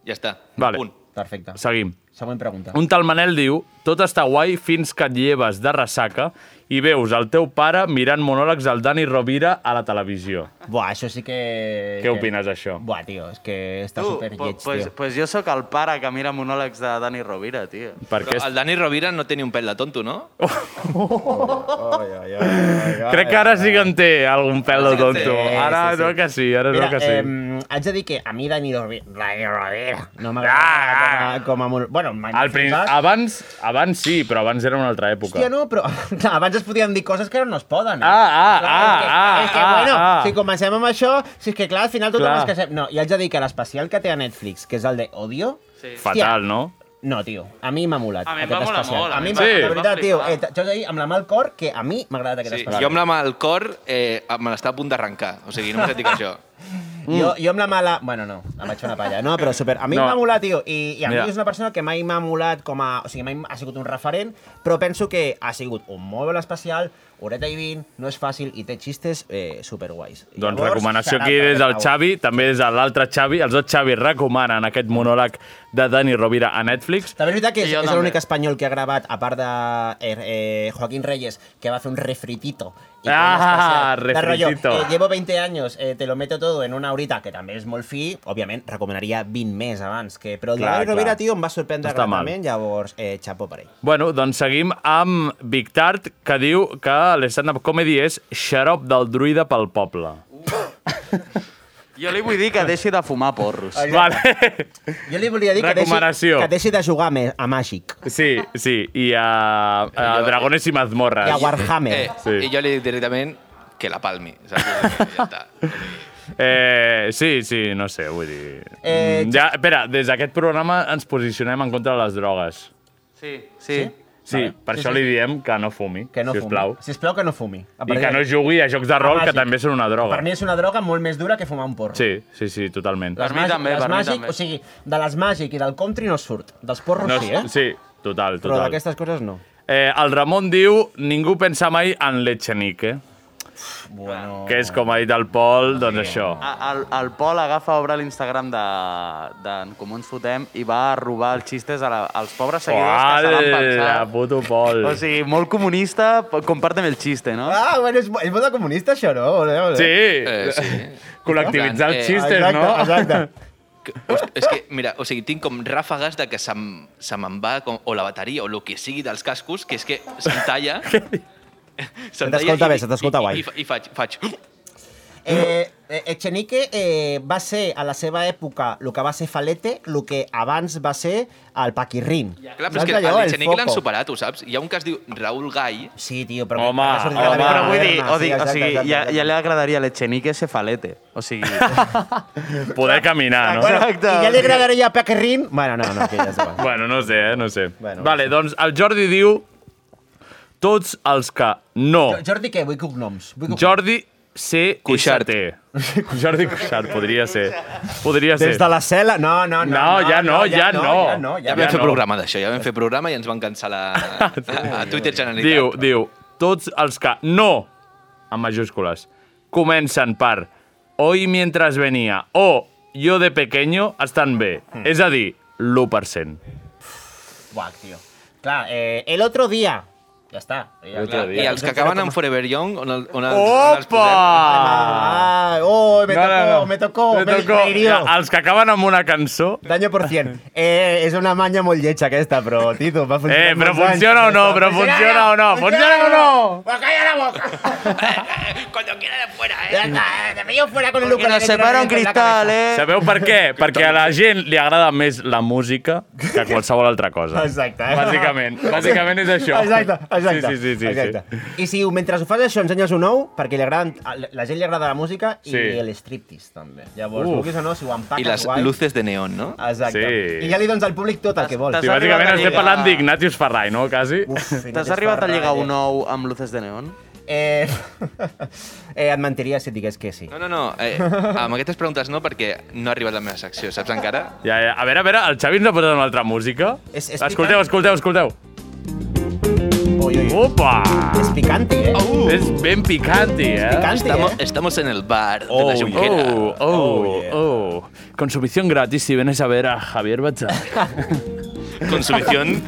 [SPEAKER 3] Ja està.
[SPEAKER 2] Vale.
[SPEAKER 3] Punt.
[SPEAKER 1] Perfecte.
[SPEAKER 2] Seguim.
[SPEAKER 1] Següent pregunta.
[SPEAKER 2] Un tal Manel diu, tot està guai fins que et lleves de ressaca i veus el teu pare mirant monòlegs al Dani Rovira a la televisió.
[SPEAKER 1] Buah, això sí que...
[SPEAKER 2] Què opines d'això?
[SPEAKER 1] Buah, tio, és que està
[SPEAKER 4] Tu,
[SPEAKER 1] super
[SPEAKER 4] po-
[SPEAKER 1] lleig,
[SPEAKER 4] pues,
[SPEAKER 1] tio.
[SPEAKER 4] pues jo sóc el pare que mira monòlegs de Dani Rovira, tio.
[SPEAKER 3] Però el Dani Rovira no té ni un pèl de tonto, no?
[SPEAKER 2] Crec que ara sí que en té algun pèl de tonto. Ara no que sí, ara
[SPEAKER 1] Mira,
[SPEAKER 2] no que sí.
[SPEAKER 1] Eh, haig de dir que a mi Dani Rovira, Dani Rovira no m'agrada com a... Com a mon... bueno,
[SPEAKER 2] Ah! Al prin...
[SPEAKER 1] saps?
[SPEAKER 2] abans, abans sí, però abans era una altra època.
[SPEAKER 1] Hòstia, no, però abans es podien dir coses que ara no es poden. Eh?
[SPEAKER 2] Ah, ah, ah,
[SPEAKER 1] és que,
[SPEAKER 2] ah,
[SPEAKER 1] és que,
[SPEAKER 2] ah,
[SPEAKER 1] bueno,
[SPEAKER 2] ah.
[SPEAKER 1] si comencem amb això, si és que, clar, al final tothom
[SPEAKER 2] Clar.
[SPEAKER 1] es casem... No, i haig de dir que l'especial que té a Netflix, que és el de Odio... Sí.
[SPEAKER 2] Fatal, no?
[SPEAKER 1] No, tio, a mi m'ha molat
[SPEAKER 3] A mi em
[SPEAKER 1] aquest
[SPEAKER 3] va molar
[SPEAKER 1] especial.
[SPEAKER 3] molt, eh?
[SPEAKER 1] a mi,
[SPEAKER 3] em
[SPEAKER 1] m'ha-
[SPEAKER 3] va-
[SPEAKER 1] de
[SPEAKER 3] em va
[SPEAKER 1] veritat, tio,
[SPEAKER 3] flipar.
[SPEAKER 1] eh, jo he dit amb la mà al cor que a mi m'ha agradat aquest
[SPEAKER 3] Sí,
[SPEAKER 1] especial.
[SPEAKER 3] jo amb la mà al cor eh, me l'està a punt d'arrencar. O sigui, només et dic això.
[SPEAKER 1] Mm. Jo, jo amb la mala... Bueno, no, em vaig fer una palla. No, però super... A mi no.
[SPEAKER 3] No.
[SPEAKER 1] m'ha molat, tio, i, i a
[SPEAKER 3] Mira.
[SPEAKER 1] mi és una persona que mai m'ha molat com a... O sigui, mai ha sigut un referent, però penso que ha sigut un molt bon especial, horeta i vint, no és fàcil i té xistes eh, superguais.
[SPEAKER 2] Doncs
[SPEAKER 1] Llavors,
[SPEAKER 2] recomanació
[SPEAKER 1] xarapa,
[SPEAKER 2] aquí des del
[SPEAKER 1] per favor.
[SPEAKER 2] Xavi, també des de l'altre Xavi. Els dos Xavi recomanen aquest monòleg de Dani Rovira a Netflix.
[SPEAKER 1] També és veritat que
[SPEAKER 2] I
[SPEAKER 1] és,
[SPEAKER 2] jo
[SPEAKER 1] és
[SPEAKER 2] també.
[SPEAKER 1] l'únic espanyol que ha gravat, a part de eh, eh, Joaquín Reyes, que va fer un refritito. I que
[SPEAKER 2] Ah,
[SPEAKER 1] un especial de rotllo,
[SPEAKER 2] refritito.
[SPEAKER 1] eh, llevo 20 años, eh, te lo meto todo en una horita, que també és molt fi, òbviament recomanaria 20 més abans, que, però el de
[SPEAKER 2] Clar,
[SPEAKER 1] Dani Rovira,
[SPEAKER 2] clar.
[SPEAKER 1] tio, em va sorprendre
[SPEAKER 2] No està mal.
[SPEAKER 1] gratament, llavors, eh, xapó per ell.
[SPEAKER 2] Bueno, doncs seguim amb Big Tart, que diu que l'stand-up comedy és xarop del druida pel poble.
[SPEAKER 4] Jo li vull dir que deixi de fumar porros.
[SPEAKER 2] Vale.
[SPEAKER 1] Jo li volia dir que deixi,
[SPEAKER 2] Recomanació.
[SPEAKER 1] que deixi de jugar més a Màgic.
[SPEAKER 2] Sí, sí, i a, a Dragones i Mazmorras.
[SPEAKER 1] I a Warhammer.
[SPEAKER 3] Eh, sí. I jo li dic directament que la palmi. Saps?
[SPEAKER 2] Eh, sí, sí, no sé, vull dir...
[SPEAKER 3] Eh,
[SPEAKER 2] Eh, ja, espera, des d'aquest programa ens posicionem en contra de les drogues.
[SPEAKER 4] Sí, sí.
[SPEAKER 2] Sí,
[SPEAKER 1] Vale.
[SPEAKER 2] per
[SPEAKER 1] Sí,
[SPEAKER 2] això
[SPEAKER 1] sí.
[SPEAKER 2] li diem que no fumi,
[SPEAKER 1] Que no
[SPEAKER 2] sisplau.
[SPEAKER 1] fumi. Sisplau que no fumi. A
[SPEAKER 2] I
[SPEAKER 1] partir
[SPEAKER 2] que no
[SPEAKER 1] de-
[SPEAKER 2] jugui a jocs de rol, que
[SPEAKER 1] Màgic.
[SPEAKER 2] també són una droga.
[SPEAKER 1] Per mi és una droga molt més dura que fumar un porro.
[SPEAKER 2] Sí, sí, sí, totalment.
[SPEAKER 1] Les màgic- les màgic, O sigui, de les màgic i del country no surt. Dels porros
[SPEAKER 2] No,
[SPEAKER 1] sí, eh?
[SPEAKER 2] Sí, total,
[SPEAKER 1] Però
[SPEAKER 2] total.
[SPEAKER 1] d'aquestes coses no.
[SPEAKER 2] Eh, el Ramon diu, ningú pensa mai en l'Echenique.
[SPEAKER 1] Bueno...
[SPEAKER 2] Que és, com ha dit el Pol, doncs això.
[SPEAKER 4] A- El, el Pol agafa, obre l'Instagram d'en de, d'en Comú ens fotem i va a robar els xistes a la, als pobres seguidors que se l'han
[SPEAKER 2] Uala,
[SPEAKER 4] pensat. Oh,
[SPEAKER 2] puto Pol.
[SPEAKER 4] O sigui, molt comunista, p- compárteme el xiste, no?
[SPEAKER 1] Ah, bueno, és, bo- és molt de comunista, això, no? Voleu, voleu.
[SPEAKER 2] Sí. Eh, sí. Col·lectivitzar
[SPEAKER 3] En plan,
[SPEAKER 2] els
[SPEAKER 3] eh,
[SPEAKER 2] xistes,
[SPEAKER 3] exacte,
[SPEAKER 2] no?
[SPEAKER 3] exacte. Host- És que, mira, o sigui, tinc com ràfegues de que se m- se me'n va com, o la bateria o el que sigui dels cascos, que és que se'm talla... se'm
[SPEAKER 1] Se t'escolta
[SPEAKER 3] i-
[SPEAKER 1] bé, se t'escolta
[SPEAKER 3] i-
[SPEAKER 1] guai.
[SPEAKER 3] I, fa- i faig, faig...
[SPEAKER 1] Eh, eh, Echenique eh, va ser a la seva època el que va ser Falete, el que abans va ser el Paquirrin.
[SPEAKER 3] Clar, però és que a l'Echenique l'han superat, ho saps? Hi ha un que es diu Raül Gai.
[SPEAKER 1] Sí, tio, però...
[SPEAKER 2] Home,
[SPEAKER 1] ha sortit a la
[SPEAKER 2] home.
[SPEAKER 1] vida
[SPEAKER 4] Però vull dir,
[SPEAKER 1] moderna,
[SPEAKER 4] o, dic,
[SPEAKER 1] ah, sí,
[SPEAKER 4] o
[SPEAKER 1] exacte,
[SPEAKER 4] sigui,
[SPEAKER 1] exacte,
[SPEAKER 4] ja,
[SPEAKER 1] exacte.
[SPEAKER 4] ja li agradaria a l'Echenique ser falete. O sigui...
[SPEAKER 2] Poder caminar, no?
[SPEAKER 1] Bueno, I ja li agradaria a Paquirrin... Bueno, no, no, que ja és igual.
[SPEAKER 2] Bueno, no sé, eh? No sé. Bueno, vale, doncs el Jordi diu... Tots els que no...
[SPEAKER 1] Jo- Jordi, què? Vull cognoms. Vull cognoms.
[SPEAKER 2] Jordi C. Cuixart. Jordi Cuixart, podria ser. Podria ser.
[SPEAKER 1] Des de la cel·la... No, no, no.
[SPEAKER 2] No, ja no, ja no.
[SPEAKER 1] Ja no,
[SPEAKER 3] Ja
[SPEAKER 1] ja
[SPEAKER 3] vam
[SPEAKER 2] ja
[SPEAKER 3] fer
[SPEAKER 2] no.
[SPEAKER 3] programa d'això, ja vam fer programa i ens van cancel·lar a, a Twitter Generalitat.
[SPEAKER 2] Diu, diu, tots els que no, en majúscules, comencen per hoy mientras venía o yo de pequeño estan bé. És a dir, l'1%.
[SPEAKER 1] Buah, tio. Clar, eh, el otro día... Ja està. Ja,
[SPEAKER 3] Clar, I els que acaben en Forever Young, on, el, on, els, on Doncs els
[SPEAKER 2] Opa!
[SPEAKER 1] Ah, oh, me
[SPEAKER 2] No,
[SPEAKER 1] tocó,
[SPEAKER 2] no, no.
[SPEAKER 1] me tocó, me,
[SPEAKER 2] Me tocó. ah.
[SPEAKER 1] me hirió.
[SPEAKER 2] Ja, els que acaben amb una cançó...
[SPEAKER 1] Daño por 100. Eh, és una manya molt lletja aquesta, però, Tito, va funcionar
[SPEAKER 2] Eh, però
[SPEAKER 1] molts anys.
[SPEAKER 2] funciona o no, però funciona o no, funciona o no.
[SPEAKER 1] Pues calla la boca. Cuando quiera de fuera, eh. Te pillo fuera con el lucro.
[SPEAKER 4] nos separa un cristal, eh?
[SPEAKER 2] Sabeu per què? Perquè a la gent li agrada més la música que qualsevol altra cosa.
[SPEAKER 1] Exacte.
[SPEAKER 2] Bàsicament, bàsicament és això.
[SPEAKER 1] Exacte, exacte.
[SPEAKER 2] Sí, sí, sí. sí,
[SPEAKER 1] exacte.
[SPEAKER 2] sí.
[SPEAKER 1] I si mentre ho fas això ensenyes un ou, perquè li agraden, a la gent li agrada la música i
[SPEAKER 3] Sí.
[SPEAKER 1] el striptease també. Llavors,
[SPEAKER 3] Uf.
[SPEAKER 1] vulguis o no, si ho empaques
[SPEAKER 3] I les
[SPEAKER 1] guai...
[SPEAKER 3] luces de neon, no?
[SPEAKER 1] Exacte.
[SPEAKER 3] Sí.
[SPEAKER 1] I ja li dones al públic tot el que vol.
[SPEAKER 2] Sí, bàsicament estem parlant d'Ignatius Ferrai, no? Quasi.
[SPEAKER 4] T'has arribat a lligar un ou amb luces de neon?
[SPEAKER 1] Eh, eh, et mentiria si et digués que sí.
[SPEAKER 3] No, no, no. Eh, amb aquestes preguntes no, perquè no ha arribat la meva secció, saps encara?
[SPEAKER 2] Ja, ja. A veure, a veure, el Xavi ens ha posat una altra música.
[SPEAKER 3] És- és
[SPEAKER 2] Escolteu, escolteu, escolteu.
[SPEAKER 1] Ui, ui.
[SPEAKER 2] Opa!
[SPEAKER 1] És picanti, eh?
[SPEAKER 2] Uh. És ben picanti, eh?
[SPEAKER 1] Picanti,
[SPEAKER 3] Estamos, estamos en el bar de la Junquera.
[SPEAKER 2] oh, oh, oh. Consumición gratis si vienes a ver a Javier Bachar.
[SPEAKER 3] Consumición.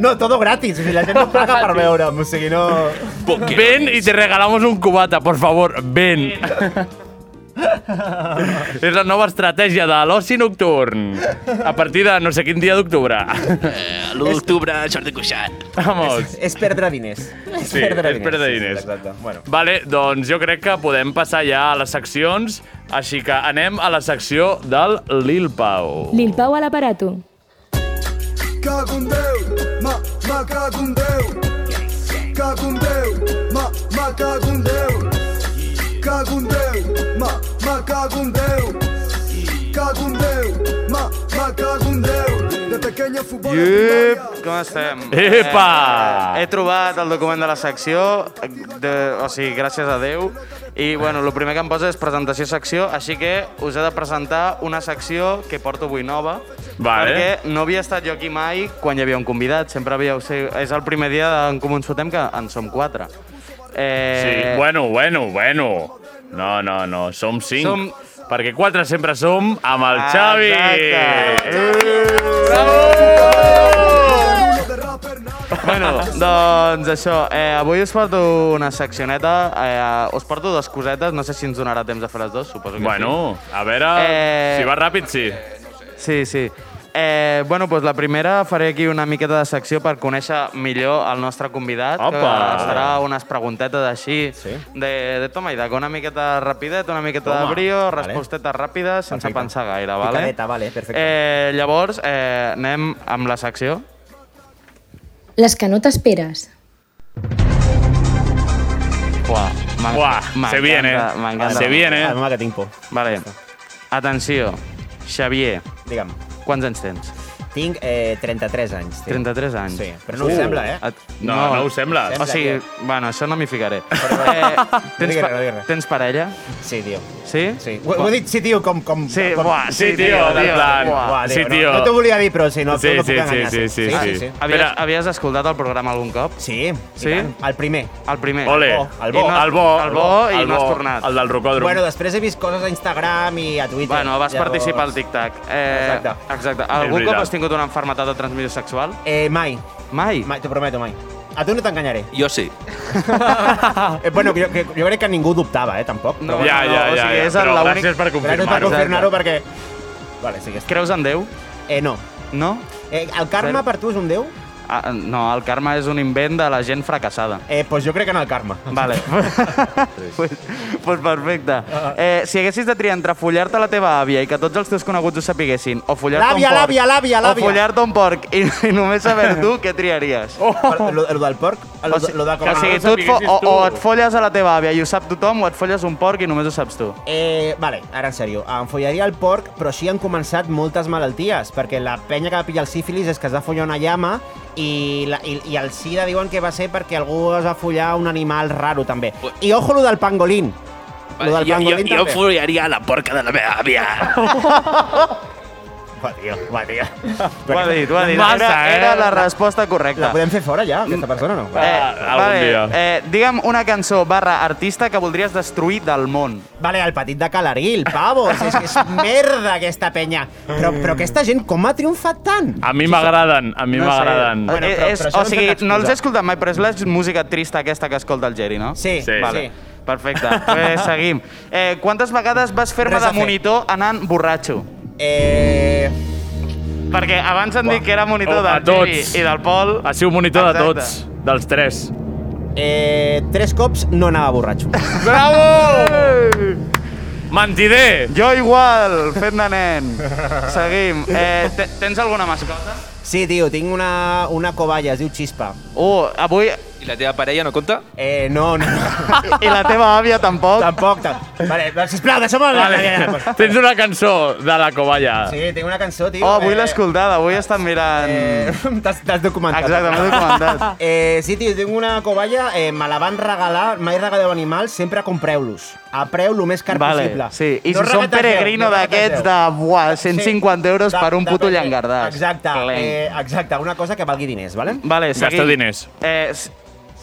[SPEAKER 1] no, no, todo gratis. O sigui, la gent no paga per veure'm. O sigui, no...
[SPEAKER 2] Ven y te regalamos un cubata, por favor, ven. És la nova estratègia de l'oci nocturn. A partir de no sé quin dia d'octubre.
[SPEAKER 3] Eh, L'1 d'octubre, Jordi Cuixart.
[SPEAKER 2] Vamos.
[SPEAKER 1] És, és perdre diners. És
[SPEAKER 2] Sí,
[SPEAKER 1] perdre
[SPEAKER 2] és
[SPEAKER 1] diners.
[SPEAKER 2] perdre
[SPEAKER 1] Sí, sí,
[SPEAKER 2] diners.
[SPEAKER 1] Exacte. Bueno.
[SPEAKER 2] Vale, doncs jo crec que podem passar ja a les seccions, així que anem a la secció del Lil Pau.
[SPEAKER 9] Lil Pau a l'aparato.
[SPEAKER 10] Cago en Déu, ma, ma cago en Déu. Cago en Déu, ma, ma cago en Déu. Cago en Déu, ma, ma cago en Déu. Cago en Déu, ma, ma cago en Déu. De pequeño fútbol.
[SPEAKER 4] Iup, com estem?
[SPEAKER 2] Epa!
[SPEAKER 4] Eh, he trobat el document de la secció, de, o sigui, gràcies a Déu. I, bueno, el primer que em posa és presentació-secció, així que us he de presentar una secció que porto avui nova,
[SPEAKER 2] Vale.
[SPEAKER 4] perquè no havia estat jo aquí mai quan hi havia un convidat. Sempre havíeu... Ser, és el primer dia d'en Comú ens fotem que en som quatre. Eh,
[SPEAKER 2] Sí, bueno, bueno, bueno. No, no, no, som cinc. Som...
[SPEAKER 4] Som-
[SPEAKER 2] Perquè quatre sempre som amb el Xavi. Eh.
[SPEAKER 4] Bueno, doncs això, eh, avui us porto una seccioneta, eh, us porto dues cosetes, no sé si ens donarà temps de fer les dues, suposo que
[SPEAKER 2] Bueno, a veure, eh...
[SPEAKER 4] Eh,
[SPEAKER 2] si va ràpid, sí.
[SPEAKER 4] sí. Sí, sí. Eh, bueno, doncs la primera faré aquí una miqueta de secció per conèixer millor el nostre convidat,
[SPEAKER 2] Opa!
[SPEAKER 4] que serà unes preguntetes així sí. de, de toma i daca, una miqueta rapidet, una miqueta
[SPEAKER 1] Toma.
[SPEAKER 4] de brio,
[SPEAKER 1] Vale.
[SPEAKER 4] respostetes ràpides, sense
[SPEAKER 1] Perfecte.
[SPEAKER 4] pensar gaire, vale?
[SPEAKER 1] Picadeta, vale, perfecte.
[SPEAKER 4] Eh, llavors, eh, anem amb la secció.
[SPEAKER 5] Les que no t'esperes.
[SPEAKER 4] Buah, m'en-
[SPEAKER 2] Buah,
[SPEAKER 4] m'encanta,
[SPEAKER 2] se
[SPEAKER 1] eh?
[SPEAKER 2] viene.
[SPEAKER 4] m'encanta.
[SPEAKER 2] Se viene.
[SPEAKER 1] Ah, home, que tinc por.
[SPEAKER 4] Vale. Atenció. Xavier,
[SPEAKER 1] Digue'm.
[SPEAKER 4] quants anys tens?
[SPEAKER 1] Tinc eh, 33 anys. Tinc.
[SPEAKER 4] 33 anys. Uh.
[SPEAKER 1] Sí, però no ho sembla, eh?
[SPEAKER 4] Et-
[SPEAKER 2] No, no ho sembla.
[SPEAKER 4] O
[SPEAKER 1] Sembla
[SPEAKER 4] sigui,
[SPEAKER 1] que-
[SPEAKER 4] bueno, això no m'hi ficaré. eh,
[SPEAKER 1] No
[SPEAKER 4] tens,
[SPEAKER 1] digues
[SPEAKER 4] pa
[SPEAKER 1] res, no digues res.
[SPEAKER 4] tens parella?
[SPEAKER 1] Sí, tio.
[SPEAKER 4] Sí?
[SPEAKER 1] Sí. Ho, ho he dit sí, tio, com... com
[SPEAKER 4] Sí,
[SPEAKER 1] com...
[SPEAKER 4] buah, sí,
[SPEAKER 2] Sí, tio,
[SPEAKER 4] tio,
[SPEAKER 2] en
[SPEAKER 4] tio,
[SPEAKER 2] plan...
[SPEAKER 4] buah,
[SPEAKER 1] Buah,
[SPEAKER 2] sí,
[SPEAKER 1] tio,
[SPEAKER 2] tio.
[SPEAKER 1] No, no t'ho volia dir, però si no,
[SPEAKER 2] Sí,
[SPEAKER 1] no
[SPEAKER 2] sí,
[SPEAKER 1] puc
[SPEAKER 2] sí,
[SPEAKER 1] enganyar.
[SPEAKER 2] sí, sí,
[SPEAKER 1] sí,
[SPEAKER 2] sí.
[SPEAKER 1] sí, sí.
[SPEAKER 4] Havies,
[SPEAKER 2] Espera.
[SPEAKER 4] havies escoltat el programa algun cop?
[SPEAKER 1] Sí, i
[SPEAKER 4] Sí?
[SPEAKER 1] tant. El primer.
[SPEAKER 4] El primer.
[SPEAKER 2] Ole.
[SPEAKER 1] bo, el bo.
[SPEAKER 4] I no has-
[SPEAKER 2] el bo,
[SPEAKER 4] el bo i
[SPEAKER 2] el
[SPEAKER 4] no has
[SPEAKER 2] bo,
[SPEAKER 4] tornat.
[SPEAKER 2] El del rocòdrom.
[SPEAKER 1] Bueno, després he vist coses a Instagram i a Twitter.
[SPEAKER 4] Bueno, vas
[SPEAKER 1] llavors-
[SPEAKER 4] participar al tic-tac. Eh,
[SPEAKER 1] Exacte.
[SPEAKER 4] exacte. Algun
[SPEAKER 2] veritat.
[SPEAKER 4] cop has tingut una enfermetat de transmissió sexual?
[SPEAKER 1] Eh, mai,
[SPEAKER 4] Mai.
[SPEAKER 1] mai, t'ho prometo, mai. A tu no t'enganyaré.
[SPEAKER 3] Jo sí.
[SPEAKER 1] Eh, bueno, jo, jo, jo crec que ningú dubtava, eh, tampoc.
[SPEAKER 4] No,
[SPEAKER 2] Ja,
[SPEAKER 4] doncs, no,
[SPEAKER 2] ja,
[SPEAKER 4] o
[SPEAKER 2] ja,
[SPEAKER 4] sigui,
[SPEAKER 2] ja.
[SPEAKER 4] és el-
[SPEAKER 2] Però
[SPEAKER 4] l'únic-
[SPEAKER 2] gràcies per
[SPEAKER 1] Gràcies per
[SPEAKER 2] confirmar-ho.
[SPEAKER 1] confirmar-ho perquè... Vale, sí que és...
[SPEAKER 4] Creus en Déu?
[SPEAKER 1] Eh, no.
[SPEAKER 4] No?
[SPEAKER 1] Eh, el karma
[SPEAKER 4] Zero.
[SPEAKER 1] per tu és un déu?
[SPEAKER 4] Ah, no, el karma és un invent de la gent fracassada.
[SPEAKER 1] Eh, doncs jo crec que en el karma.
[SPEAKER 4] Vale. pues, pues perfecte.
[SPEAKER 2] Ah.
[SPEAKER 4] Eh, si haguessis de triar entre follar-te la teva àvia i que tots els teus coneguts ho sapiguessin, o follar-te un
[SPEAKER 1] L'àvia,
[SPEAKER 4] porc...
[SPEAKER 1] l'àvia, l'àvia, l'àvia.
[SPEAKER 4] O follar-te un porc i, i només saber tu què triaries.
[SPEAKER 1] Oh. Lo, lo del porc? Lo,
[SPEAKER 4] si-
[SPEAKER 1] lo de
[SPEAKER 4] o sigui,
[SPEAKER 2] no
[SPEAKER 4] tu et fo
[SPEAKER 2] sapiguessis
[SPEAKER 4] o,
[SPEAKER 2] tu.
[SPEAKER 4] o et folles a la teva àvia i ho sap tothom, o et folles un porc i només ho saps tu.
[SPEAKER 1] Eh, vale, ara en sèrio, em follaria el porc, però sí han començat moltes malalties, perquè la penya que va pillar el sífilis és que es va follar una llama i, la, i, i el sida diuen que va ser perquè algú es va follar un animal raro, també. I ojo lo del pangolín. Lo del
[SPEAKER 3] jo, jo,
[SPEAKER 1] pangolín
[SPEAKER 3] jo
[SPEAKER 1] també.
[SPEAKER 3] follaria la porca de la meva àvia.
[SPEAKER 1] Va, tio, va, tio.
[SPEAKER 4] Ho ha dit, ho ha dit.
[SPEAKER 2] Massa,
[SPEAKER 4] era,
[SPEAKER 2] eh?
[SPEAKER 4] era la resposta correcta.
[SPEAKER 1] La podem fer fora ja, aquesta persona, no?
[SPEAKER 4] Eh,
[SPEAKER 2] Ah, algun
[SPEAKER 4] vale,
[SPEAKER 2] dia.
[SPEAKER 4] eh, digue'm una cançó barra artista que voldries destruir del món.
[SPEAKER 1] Vale, el petit de Calaril, pavos, és que és merda aquesta penya. Però, però aquesta gent com ha triomfat tant?
[SPEAKER 2] A mi m'agraden, a mi
[SPEAKER 4] No sé.
[SPEAKER 2] m'agraden.
[SPEAKER 1] Bueno,
[SPEAKER 4] Eh,
[SPEAKER 1] però-
[SPEAKER 4] és,
[SPEAKER 1] però això
[SPEAKER 4] o
[SPEAKER 1] no
[SPEAKER 4] sigui,
[SPEAKER 1] té cap
[SPEAKER 4] no els he
[SPEAKER 1] excusa.
[SPEAKER 4] escoltat mai, però és la música trista aquesta que escolta el Geri, no?
[SPEAKER 1] Sí,
[SPEAKER 2] Sí.
[SPEAKER 1] sí.
[SPEAKER 4] Vale.
[SPEAKER 1] sí.
[SPEAKER 4] Perfecte, pues seguim. Eh, quantes vegades vas fer-me
[SPEAKER 1] Res a
[SPEAKER 4] de
[SPEAKER 1] fer.
[SPEAKER 4] monitor anant borratxo?
[SPEAKER 1] Eh...
[SPEAKER 4] Perquè abans han dit que era monitor
[SPEAKER 2] Oh, a
[SPEAKER 4] del Geri
[SPEAKER 2] tots.
[SPEAKER 4] i del Pol.
[SPEAKER 2] Ha sigut monitor de
[SPEAKER 4] Exacte.
[SPEAKER 2] tots, dels tres.
[SPEAKER 1] Eh, tres cops no anava borratxo.
[SPEAKER 2] Bravo! Mentider!
[SPEAKER 4] Jo igual, fent de nen. Seguim. Eh, te- tens alguna mascota?
[SPEAKER 1] Sí, tio, tinc una, una coballa, es diu Xispa.
[SPEAKER 4] Uh, avui
[SPEAKER 3] I la teva parella no compta?
[SPEAKER 1] Eh, no, no.
[SPEAKER 4] I la teva àvia tampoc?
[SPEAKER 1] Tampoc, tampoc. Vale, doncs, sisplau, deixa'm... el-
[SPEAKER 2] Vale. Tens una cançó de la covalla.
[SPEAKER 1] Sí, tinc una cançó, tio.
[SPEAKER 4] Oh, avui
[SPEAKER 1] eh,
[SPEAKER 4] l'he escoltat, avui estan mirant...
[SPEAKER 1] Eh, T'has t'has documentat.
[SPEAKER 4] Exacte, m'he documentat.
[SPEAKER 1] Eh, sí, tio, tinc una covalla, eh, me la van regalar, mai regaleu animals, sempre compreu-los. A preu lo més car
[SPEAKER 4] Vale,
[SPEAKER 1] possible.
[SPEAKER 4] sí. I si són
[SPEAKER 1] regategeu,
[SPEAKER 4] peregrino d'aquests de,
[SPEAKER 1] regategeu.
[SPEAKER 4] buah, 150 euros
[SPEAKER 1] de-
[SPEAKER 4] per un
[SPEAKER 1] de
[SPEAKER 4] puto
[SPEAKER 1] paper.
[SPEAKER 4] llangardàs.
[SPEAKER 1] Exacte,
[SPEAKER 4] Clenc.
[SPEAKER 1] eh, exacte, una cosa que valgui diners, vale?
[SPEAKER 4] Vale, seguim. Eh, s-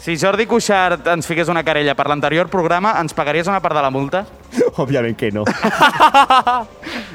[SPEAKER 4] si Jordi Cuixart ens fiqués una querella per l'anterior programa, ens pagaries una part de la multa?
[SPEAKER 1] Òbviament que no.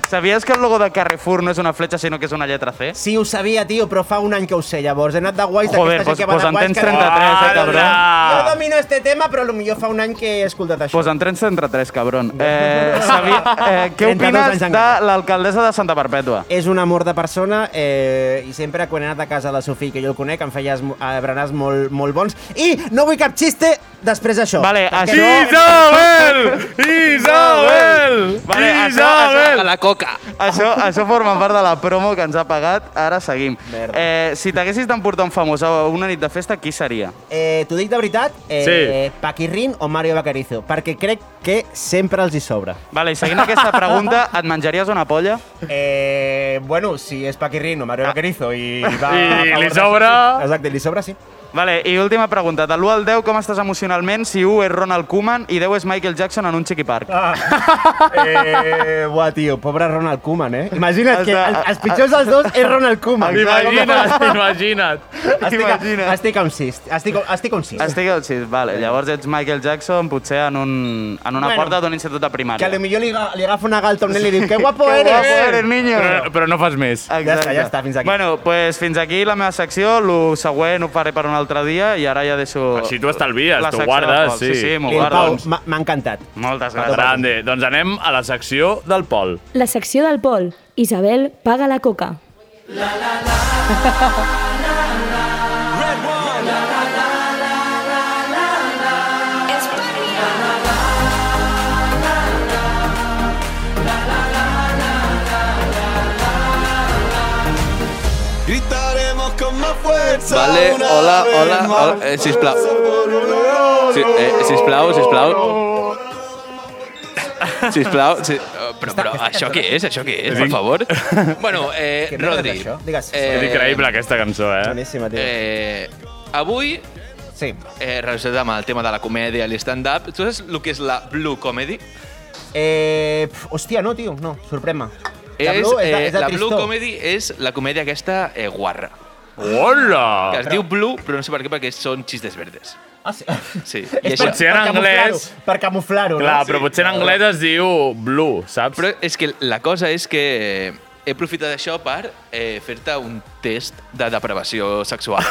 [SPEAKER 4] Sabies que el logo de Carrefour no és una fletxa, sinó que és una lletra C?
[SPEAKER 1] Sí, ho sabia, tio, però fa un any que ho sé, llavors. He anat de guais
[SPEAKER 4] Joder,
[SPEAKER 1] d'aquesta gent
[SPEAKER 4] doncs
[SPEAKER 1] que va
[SPEAKER 4] pues
[SPEAKER 1] de
[SPEAKER 4] en
[SPEAKER 1] guais.
[SPEAKER 4] tens
[SPEAKER 1] que-
[SPEAKER 4] 33, eh,
[SPEAKER 1] Jo
[SPEAKER 4] cabrón.
[SPEAKER 1] domino este tema, però potser fa un any que he escoltat això.
[SPEAKER 4] Pues en tens 33, cabron. Eh, sabia, eh, què
[SPEAKER 1] 32
[SPEAKER 4] opines
[SPEAKER 1] anys
[SPEAKER 4] de
[SPEAKER 1] encara.
[SPEAKER 4] l'alcaldessa de Santa Perpètua?
[SPEAKER 1] És un amor de persona eh, i sempre quan he anat a casa de Sofí, que jo el conec, em feia esmo- eh, berenars molt, molt bons. I no vull cap xiste després d'això.
[SPEAKER 4] Vale,
[SPEAKER 1] Perquè
[SPEAKER 4] això-
[SPEAKER 2] Isabel! Isabel!
[SPEAKER 4] Vale, això, això, la coca. Això, això forma part de la promo que ens ha pagat. Ara seguim. Eh, si t'haguessis d'emportar un famós a una nit de festa, qui seria?
[SPEAKER 1] Eh, T'ho dic de veritat, eh,
[SPEAKER 4] Sí.
[SPEAKER 1] Paquirrin o Mario Bacarizo, perquè crec que sempre els hi sobra.
[SPEAKER 4] Vale, i seguint aquesta pregunta, et menjaries una polla?
[SPEAKER 1] Eh, bueno, si és Paquirrin o Mario Bacarizo i va...
[SPEAKER 4] Ah. I
[SPEAKER 1] a favor
[SPEAKER 4] li
[SPEAKER 1] de-
[SPEAKER 4] sobra.
[SPEAKER 1] Exacte, li sobra, sí.
[SPEAKER 4] Vale, i última pregunta. De l'1 al 10, com estàs emocionalment si 1 és Ronald Koeman i 10 és Michael Jackson en un xiqui parc?
[SPEAKER 1] Ah. Eh, buah, tio, pobre Ronald Koeman, eh? Imagina't que
[SPEAKER 4] Està-
[SPEAKER 1] el, els pitjors dels dos és Ronald Koeman.
[SPEAKER 2] Imagina't, imagina't.
[SPEAKER 1] Estic, a, estic amb sis. Estic, estic amb sis.
[SPEAKER 4] Estic al 6, vale. Llavors ets Michael Jackson, potser en, un, en
[SPEAKER 1] Bueno.
[SPEAKER 4] una bueno, porta d'un institut de
[SPEAKER 1] Que a
[SPEAKER 4] primària.
[SPEAKER 1] lo millor li, aga- li agafa una galta a un nen i li diu que guapo
[SPEAKER 4] Que
[SPEAKER 1] eres.
[SPEAKER 4] guapo eres, niño.
[SPEAKER 2] Però, però no fas més.
[SPEAKER 1] està, ja està, fins aquí.
[SPEAKER 4] Bueno, doncs pues fins aquí la meva secció, el següent ho faré per un altre dia i ara ja deixo...
[SPEAKER 2] Així t'ho estalvies,
[SPEAKER 4] la
[SPEAKER 2] t'ho
[SPEAKER 4] secció
[SPEAKER 2] guardes,
[SPEAKER 4] del Pol.
[SPEAKER 2] sí.
[SPEAKER 4] Sí, sí, m'ho
[SPEAKER 2] Bien,
[SPEAKER 4] guardo.
[SPEAKER 2] Pau,
[SPEAKER 4] doncs.
[SPEAKER 1] M'ha m'ha encantat.
[SPEAKER 4] Moltes gràcies.
[SPEAKER 2] Grande. Doncs anem a la secció del Pol.
[SPEAKER 9] La secció del Pol. Isabel paga la coca.
[SPEAKER 10] Gritaremos con más fuerza.
[SPEAKER 3] Vale,
[SPEAKER 10] una
[SPEAKER 3] hola,
[SPEAKER 10] vez
[SPEAKER 3] hola,
[SPEAKER 10] más.
[SPEAKER 3] hola, eh, sisplau. Si, eh, sisplau, sisplau. Sisplau, si, eh, però, però això què és? Això què és, per favor? Bueno, eh,
[SPEAKER 1] Què merda és
[SPEAKER 3] Rodri,
[SPEAKER 1] això? Digues.
[SPEAKER 3] Eh,
[SPEAKER 2] És increïble, aquesta cançó, eh?
[SPEAKER 1] Boníssima, tio.
[SPEAKER 3] eh, avui,
[SPEAKER 1] Sí.
[SPEAKER 3] eh, relacionat amb el tema de la comèdia i l'stand-up, tu saps el que és la blue comedy?
[SPEAKER 1] Eh, pf, hòstia, no, tio, no, sorprèn-me. La Blue és de,
[SPEAKER 3] eh,
[SPEAKER 1] és de
[SPEAKER 3] la
[SPEAKER 1] tristor.
[SPEAKER 3] blue comedy és la comèdia aquesta eh, guarra.
[SPEAKER 2] Hola!
[SPEAKER 3] Que es diu blue, però no sé per què, perquè són xistes verdes.
[SPEAKER 1] Ah, sí.
[SPEAKER 3] Sí, i
[SPEAKER 1] És
[SPEAKER 3] això...
[SPEAKER 2] Potser en anglès...
[SPEAKER 1] camuflar-ho, Per camuflar-ho,
[SPEAKER 2] Clar,
[SPEAKER 1] no?
[SPEAKER 2] però potser en anglès es diu blue, saps?
[SPEAKER 3] Però és que la cosa és que eh, he aprofitat això per eh, fer-te un test de depravació sexual.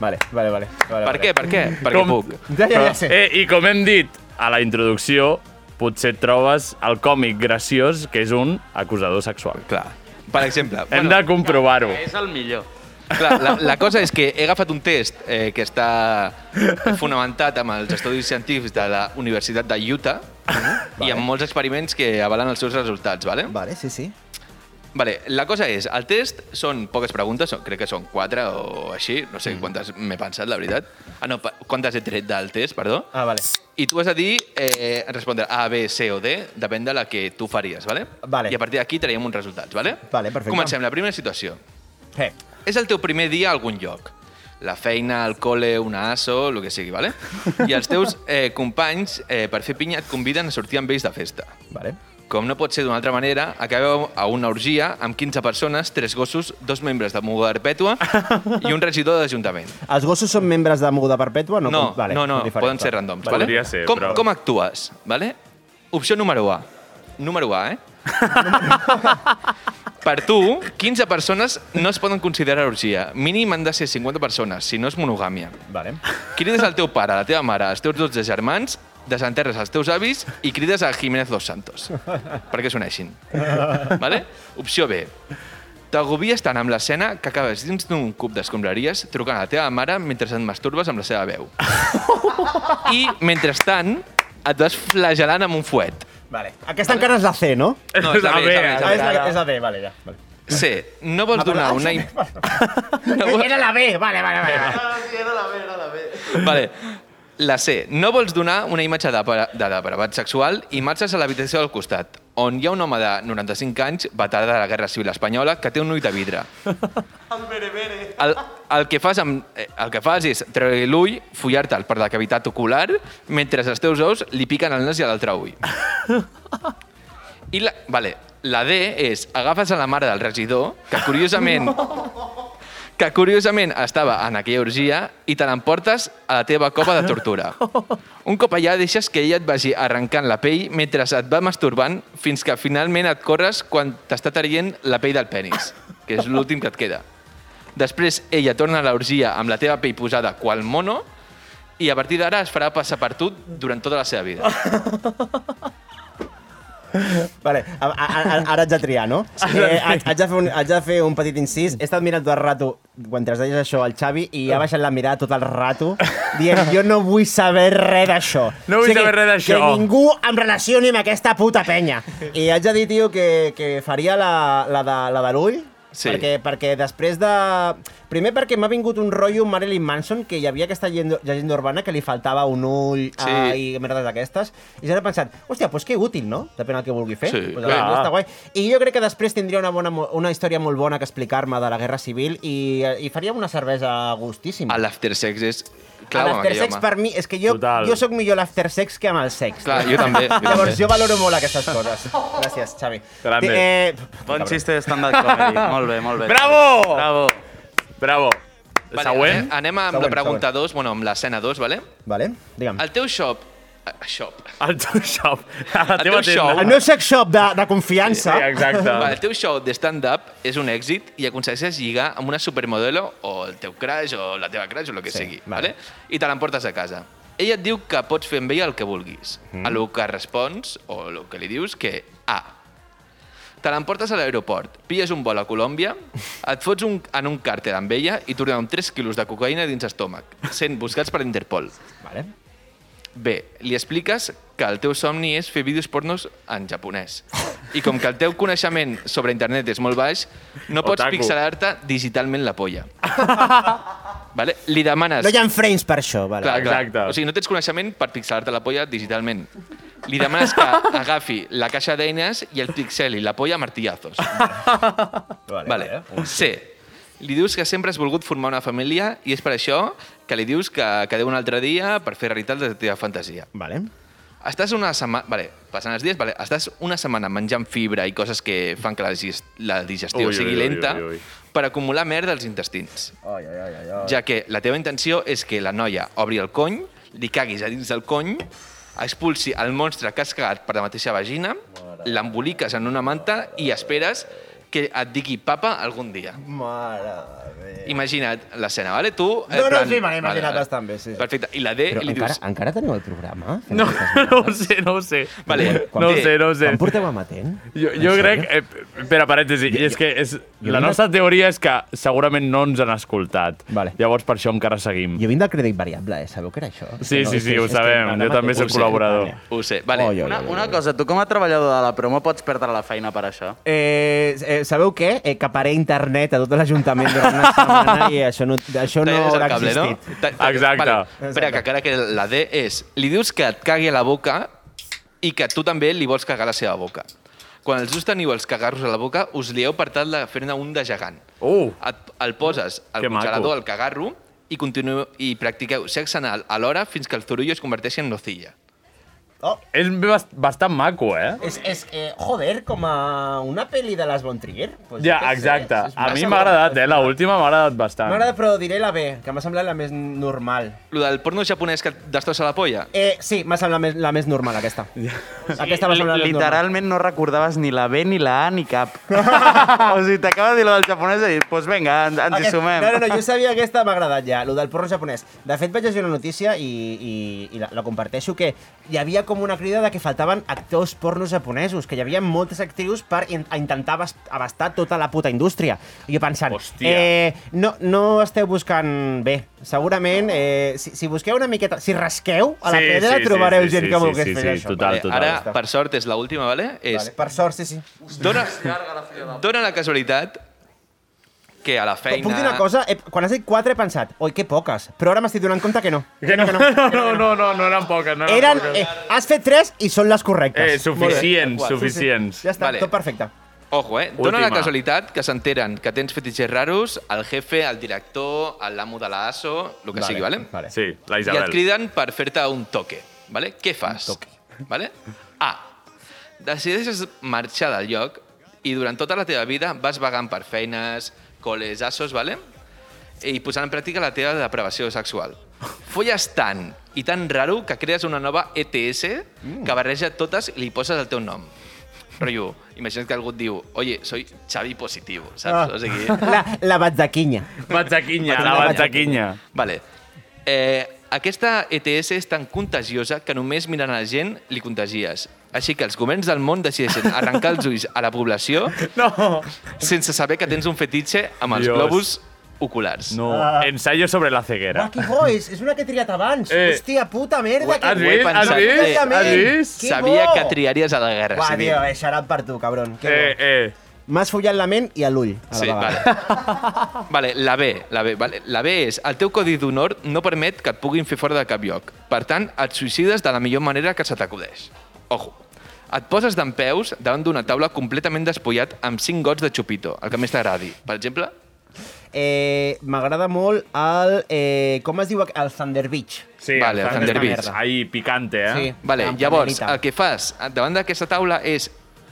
[SPEAKER 1] Vale, vale, vale. vale
[SPEAKER 3] per què? Per què? Perquè
[SPEAKER 2] Com-
[SPEAKER 3] puc.
[SPEAKER 1] Ja, ja, ja sé.
[SPEAKER 2] Eh, I com hem dit a la introducció, potser et trobes el còmic graciós, que és un acusador sexual.
[SPEAKER 3] Clar. Per exemple,
[SPEAKER 2] Hem de comprovar-ho.
[SPEAKER 4] És el millor.
[SPEAKER 3] Clar, la, la cosa és que he agafat un test eh, que està fonamentat amb els estudis científics de la Universitat de Utah i amb molts experiments que avalen els seus resultats, vale?
[SPEAKER 1] Vale, sí, sí.
[SPEAKER 3] Vale, la cosa és, el test són poques preguntes, són- crec que són quatre o així, no sé quantes m'he pensat, la veritat. Ah, no, pa- quantes he tret del test, perdó.
[SPEAKER 1] Ah, vale.
[SPEAKER 3] I tu has de dir, eh, respondre A, B, C o D, depèn de la que tu faries, vale?
[SPEAKER 1] Vale.
[SPEAKER 3] I a partir d'aquí traiem uns resultats, vale?
[SPEAKER 1] Vale, perfecte.
[SPEAKER 3] Comencem, la primera situació.
[SPEAKER 1] Eh,
[SPEAKER 3] És el teu primer dia a algun lloc. La feina, el col·le, una ASO, el que sigui, vale? I els teus eh, companys, eh, per fer pinya, et conviden a sortir amb ells de festa.
[SPEAKER 1] vale.
[SPEAKER 3] Com no pot ser d'una altra manera, acabeu a una orgia amb 15 persones, 3 gossos, dos membres de Muga Perpètua i un regidor d'Ajuntament.
[SPEAKER 1] Els gossos són membres de Moguda Perpètua? No,
[SPEAKER 3] No, no,
[SPEAKER 1] com- vale,
[SPEAKER 3] no, no
[SPEAKER 1] són diferents,
[SPEAKER 3] poden ser
[SPEAKER 1] va.
[SPEAKER 3] randoms,
[SPEAKER 1] Vale.
[SPEAKER 3] vale?
[SPEAKER 2] Podria ser,
[SPEAKER 3] com,
[SPEAKER 2] però-
[SPEAKER 3] com actues, vale? Opció número A. Número A, eh? per tu, 15 persones no es poden considerar orgia. Mínim han de ser 50 persones, si no és monogàmia.
[SPEAKER 1] Vale.
[SPEAKER 3] Crides al teu pare, la teva mare, els teus 12 germans, desenterres els teus avis i crides a Jiménez Dos Santos perquè s'uneixin. Vale? Opció B. T'agobies tant amb l'escena que acabes dins d'un cub d'escombraries trucant a la teva mare mentre et masturbes amb la seva veu. I, mentrestant, et vas flagelant amb un fuet.
[SPEAKER 1] Vale. Aquesta encara és la C, no?
[SPEAKER 3] No, és la B, és la B, és la
[SPEAKER 1] Ah, és, la,
[SPEAKER 3] B.
[SPEAKER 1] és la B, vale, ja. Vale.
[SPEAKER 3] C. No vols donar una... im- No,
[SPEAKER 1] Era la B, vale, vale, vale. vale.
[SPEAKER 4] Era la B, era la
[SPEAKER 3] Vale. La C. No vols donar una imatge de, para- de depravat sexual i marxes a l'habitació del costat, on hi ha un home de 95 anys, veterà de la Guerra Civil Espanyola, que té un ull de vidre. El, el, que fas amb, eh, el que fas és treure l'ull, follar-te'l per la cavitat ocular, mentre els teus ous li piquen el nas i a l'altre ull. I la, vale, la D és agafes a la mare del regidor, que curiosament que curiosament estava en aquella orgia i te l'emportes a la teva cova de tortura. Un cop allà deixes que ella et vagi arrencant la pell mentre et va masturbant fins que finalment et corres quan t'està traient la pell del penis, que és l'últim que et queda. Després ella torna a l'orgia amb la teva pell posada qual mono i a partir d'ara es farà passar per tu durant tota la seva vida.
[SPEAKER 1] Vale, a, a, a, ara haig de triar, no? Eh, haig, haig, de fer un, haig de fer un petit incís. He estat mirant tot el rato, quan es deies això, al Xavi, i ha baixat la mirada tot el rato, dient, jo no vull saber res d'això.
[SPEAKER 2] No vull saber res d'això.
[SPEAKER 1] Que ningú em relacioni amb aquesta puta penya. I haig de dir, tio, que, que faria la, la de, la de l'ull,
[SPEAKER 3] Sí.
[SPEAKER 1] Perquè, perquè després de... Primer perquè m'ha vingut un rotllo Marilyn Manson, que hi havia aquesta llegenda, llegenda urbana que li faltava un ull
[SPEAKER 3] Sí.
[SPEAKER 1] sí. i merdes d'aquestes, i ja he pensat, hòstia, doncs que útil, no? Depèn del que vulgui fer.
[SPEAKER 3] Sí,
[SPEAKER 1] pues,
[SPEAKER 3] clar.
[SPEAKER 1] Està guai. I jo crec que després tindria una, bona, mo- una història molt bona que explicar-me de la Guerra Civil i, i faríem una cervesa gustíssima.
[SPEAKER 3] A l'aftersex és...
[SPEAKER 1] A
[SPEAKER 3] Clar, amb aquell
[SPEAKER 1] l'aftersex,
[SPEAKER 3] home.
[SPEAKER 1] per mi, és que jo,
[SPEAKER 3] Total.
[SPEAKER 1] jo sóc millor a l'aftersex que amb el sex.
[SPEAKER 3] Clar, jo també, jo
[SPEAKER 1] Llavors,
[SPEAKER 3] també.
[SPEAKER 1] jo valoro molt aquestes coses. Gràcies, Xavi. eh,
[SPEAKER 2] Grande.
[SPEAKER 4] Bon xiste de stand-up comedy. Molt bé, molt bé.
[SPEAKER 2] Bravo! Bravo. Bravo.
[SPEAKER 3] Vale, eh,
[SPEAKER 2] Següent?
[SPEAKER 3] anem- Anem amb
[SPEAKER 2] Següent,
[SPEAKER 3] la pregunta 2, bueno, amb l'escena 2, vale?
[SPEAKER 1] Vale, digue'm.
[SPEAKER 3] El teu shop... eh, Shop.
[SPEAKER 2] El teu shop. La
[SPEAKER 3] El teu shop.
[SPEAKER 1] El meu sex shop de, de confiança.
[SPEAKER 3] Vale, el teu show de stand-up és un èxit i aconsegueixes lligar amb una supermodelo o el teu crush o la teva crush o el que
[SPEAKER 1] Sí,
[SPEAKER 3] sí, sigui,
[SPEAKER 1] vale.
[SPEAKER 3] vale. i te l'emportes a casa. Ella et diu que pots fer amb ella el que vulguis. Mm. A lo que respons, o el que li dius, que A. Te l'emportes a l'aeroport, pilles un vol a Colòmbia, et fots un, en un càrter amb ella i torna amb 3 quilos de cocaïna dins estómac, sent buscats per Interpol.
[SPEAKER 1] Vale.
[SPEAKER 3] Bé, li expliques que el teu somni és fer vídeos pornos en japonès. I com que el teu coneixement sobre internet és molt baix, no pots
[SPEAKER 1] Otaku.
[SPEAKER 3] pixelar-te digitalment la polla. vale? Li demanes...
[SPEAKER 1] No hi ha frames per això, vale.
[SPEAKER 3] Clar, clar. O sigui, no tens coneixement per pixelar-te la polla digitalment. Li demanes que agafi la caixa d'eines i el pixeli, la polla a martillazos.
[SPEAKER 1] Vale. eh?
[SPEAKER 3] Vale. C. Li dius que sempre has volgut formar una família i és per això que li dius que quedeu un altre dia per fer realitat la teva fantasia.
[SPEAKER 1] Vale.
[SPEAKER 3] Estàs una setmana... Vale, passant els dies, vale, estàs una setmana menjant fibra i coses que fan que la, digis- la digestió
[SPEAKER 2] Ui,
[SPEAKER 3] sigui
[SPEAKER 2] ui, ui,
[SPEAKER 3] lenta
[SPEAKER 2] ui, ui.
[SPEAKER 3] per acumular merda als intestins.
[SPEAKER 1] Ai, ai, ai, ai,
[SPEAKER 3] Ja que la teva intenció és que la noia obri el cony, li caguis a dins del cony, expulsi el monstre que has cagat per la mateixa vagina, l'emboliques en una manta i esperes que et digui papa algun dia.
[SPEAKER 1] Mare de Déu.
[SPEAKER 3] Imagina't l'escena, vale? Tu... eh,
[SPEAKER 1] No, no,
[SPEAKER 3] plan-
[SPEAKER 1] sí, me l'he imaginat
[SPEAKER 3] vale,
[SPEAKER 1] bastant bé, sí.
[SPEAKER 3] Perfecte. I la D
[SPEAKER 1] Però
[SPEAKER 3] li
[SPEAKER 1] encara,
[SPEAKER 3] dius...
[SPEAKER 1] encara teniu el programa?
[SPEAKER 2] No, no ho sé, no ho sé.
[SPEAKER 3] Vale,
[SPEAKER 2] no ho sé, no ho sé.
[SPEAKER 1] Quan porteu amatent?
[SPEAKER 2] Jo, jo crec... Eh, espera, parèntesi. I és que és, la
[SPEAKER 1] vinc de-
[SPEAKER 2] nostra teoria és que segurament no ens han escoltat. Vale. Llavors, per això encara seguim.
[SPEAKER 1] Jo vinc del crèdit variable, eh? Sabeu què era això?
[SPEAKER 2] Sí, sí, sí, ho sabem. Jo també soc col·laborador.
[SPEAKER 1] eh?
[SPEAKER 3] Ho sé, vale.
[SPEAKER 1] Oi, oi,
[SPEAKER 4] Una,
[SPEAKER 1] oi, oi.
[SPEAKER 4] una cosa, tu com a treballador de la promo pots perdre la feina per això?
[SPEAKER 1] Eh, eh, sabeu què? Eh, que paré internet a tot l'Ajuntament durant una setmana i això no, això no
[SPEAKER 3] Talles el
[SPEAKER 1] haurà
[SPEAKER 3] cable, no?
[SPEAKER 1] existit.
[SPEAKER 3] Ta- ta-
[SPEAKER 2] Exacte.
[SPEAKER 3] Vale, espera, que encara que la D és... Li dius que et cagui a la boca i que tu també li vols cagar a la seva boca. Quan els dos teniu els cagarros a la boca, us lieu per tal de fer-ne un de gegant.
[SPEAKER 2] Uh!
[SPEAKER 3] Et, el poses al
[SPEAKER 2] Que
[SPEAKER 3] congelador,
[SPEAKER 2] maco.
[SPEAKER 3] al cagarro, i, continueu, i practiqueu sexe anal alhora fins que el zorullo es converteixi en nocilla.
[SPEAKER 2] És bast- bastant maco, eh?
[SPEAKER 1] Oh, És, és eh, joder, com a una pel·li de les Bon Trier. Pues
[SPEAKER 2] Ja,
[SPEAKER 1] jo què sé,
[SPEAKER 2] exacte. Ah,
[SPEAKER 1] és
[SPEAKER 2] A mi
[SPEAKER 1] massa
[SPEAKER 2] m'ha agradat, eh? L'última m'ha agradat bastant.
[SPEAKER 1] M'agrada, però diré la B, que m'ha semblat la més normal.
[SPEAKER 3] Lo del porno japonès que et destrossa la polla?
[SPEAKER 1] Eh, sí, m'ha semblat més, la més normal, aquesta. aquesta m'ha semblat la més normal.
[SPEAKER 4] Literalment no recordaves ni la B, ni la A, ni cap. o sigui, t'acaba de dir lo del japonès i dit, pues vinga, ens, ens hi
[SPEAKER 1] Aquest-
[SPEAKER 4] sumem.
[SPEAKER 1] No, no, no, jo sabia que aquesta m'ha agradat ja, el del porno japonès. De fet, vaig llegir una notícia i, i, i la, la comparteixo, que hi havia com una crida de que faltaven actors pornos japonesos, que hi havia moltes actrius per in a intentar abast- abastar tota la puta indústria. I jo pensant,
[SPEAKER 2] Hòstia.
[SPEAKER 1] eh, no, no esteu buscant bé. Segurament, eh, si, si busqueu una miqueta, si rasqueu a la
[SPEAKER 3] Sí,
[SPEAKER 1] pedra,
[SPEAKER 3] sí, sí,
[SPEAKER 1] trobareu
[SPEAKER 3] sí,
[SPEAKER 1] gent
[SPEAKER 3] sí,
[SPEAKER 1] que
[SPEAKER 3] sí,
[SPEAKER 1] vulgués
[SPEAKER 3] sí,
[SPEAKER 1] fer
[SPEAKER 3] sí,
[SPEAKER 1] això.
[SPEAKER 3] Vale, ara, per sort, és l'última, vale? És
[SPEAKER 1] Per sort, sí, sí.
[SPEAKER 3] Dóna, dóna la casualitat que a la feina...
[SPEAKER 1] Puc dir una cosa? He, quan has dit 4 he pensat, oi, que poques. Però ara m'estic donant compte que no.
[SPEAKER 2] Que no, no, no, no, no, no eren poques. No eren
[SPEAKER 1] Eren,
[SPEAKER 2] poques.
[SPEAKER 1] eh, has fet 3 i són les correctes.
[SPEAKER 2] Ah, Eh, suficients,
[SPEAKER 1] Molt bé. Sí, sí.
[SPEAKER 2] suficients.
[SPEAKER 1] Ja està,
[SPEAKER 3] Vale.
[SPEAKER 1] tot perfecte.
[SPEAKER 3] Ojo, eh? Dóna la
[SPEAKER 2] Última.
[SPEAKER 3] casualitat que s'enteren que tens fetitxers raros, el jefe, el director, l'amo de l'ASO, el que
[SPEAKER 2] Vale,
[SPEAKER 3] sigui, vale?
[SPEAKER 1] vale.
[SPEAKER 2] Sí, la
[SPEAKER 3] I et
[SPEAKER 2] Isabel.
[SPEAKER 3] criden per fer-te un toque, vale? Què fas? Un toque. Vale? A. Decideixes marxar del lloc i durant tota la teva vida vas vagant per feines, col·les, assos, vale? I posant en pràctica la teva depravació sexual. Folles tant i tan raro que crees una nova ETS que barreja totes i li poses el teu nom. Rollo, imagina't que algú et diu oye, soy Xavi Positivo, saps? O sigui...
[SPEAKER 1] La, la batzaquinya.
[SPEAKER 2] Batzaquinya, la batzaquinya.
[SPEAKER 3] Vale. Eh, aquesta ETS és tan contagiosa que només mirant a la gent li contagies. Així que els governs del món decideixen arrencar els ulls a la població
[SPEAKER 2] no.
[SPEAKER 3] sense saber que tens un fetitxe amb els
[SPEAKER 2] Dios.
[SPEAKER 3] globus oculars.
[SPEAKER 2] No,
[SPEAKER 1] Ah.
[SPEAKER 2] ensayo sobre la ceguera.
[SPEAKER 1] Wacky Boys, és una que he triat abans.
[SPEAKER 2] Eh.
[SPEAKER 1] Hòstia puta merda.
[SPEAKER 3] Ho-
[SPEAKER 1] que
[SPEAKER 3] has
[SPEAKER 1] ho he
[SPEAKER 3] vist?
[SPEAKER 1] pensat
[SPEAKER 3] Has vist?
[SPEAKER 1] perfectament.
[SPEAKER 3] Has
[SPEAKER 2] vist?
[SPEAKER 1] Que
[SPEAKER 3] Sabia
[SPEAKER 1] bo.
[SPEAKER 3] que triaries a la guerra
[SPEAKER 1] Uah,
[SPEAKER 3] civil.
[SPEAKER 1] tio, eh, xarap per tu, cabron. Que
[SPEAKER 2] Eh,
[SPEAKER 1] bo.
[SPEAKER 2] eh.
[SPEAKER 1] M'has follat la ment i a l'ull. a la
[SPEAKER 3] Sí,
[SPEAKER 1] vegada.
[SPEAKER 3] vale. Vale, la B, la B, vale. La B és, el teu codi d'honor no permet que et puguin fer fora de cap lloc. Per tant, et suïcides de la millor manera que se t'acudeix. Ojo. Et poses d'en peus davant d'una taula completament despullat amb cinc gots de xupito, el que més t'agradi. Per exemple,
[SPEAKER 1] Eh, M'agrada molt el... Eh, com es diu? aqu- El Thunder Beach.
[SPEAKER 2] Sí,
[SPEAKER 3] Vale,
[SPEAKER 2] el
[SPEAKER 3] Thunder
[SPEAKER 2] Beach.
[SPEAKER 3] Beach.
[SPEAKER 2] Ahí, picante, eh?
[SPEAKER 1] Sí.
[SPEAKER 3] Vale,
[SPEAKER 1] Amb
[SPEAKER 3] llavors,
[SPEAKER 1] panelita.
[SPEAKER 3] el que fas davant d'aquesta taula és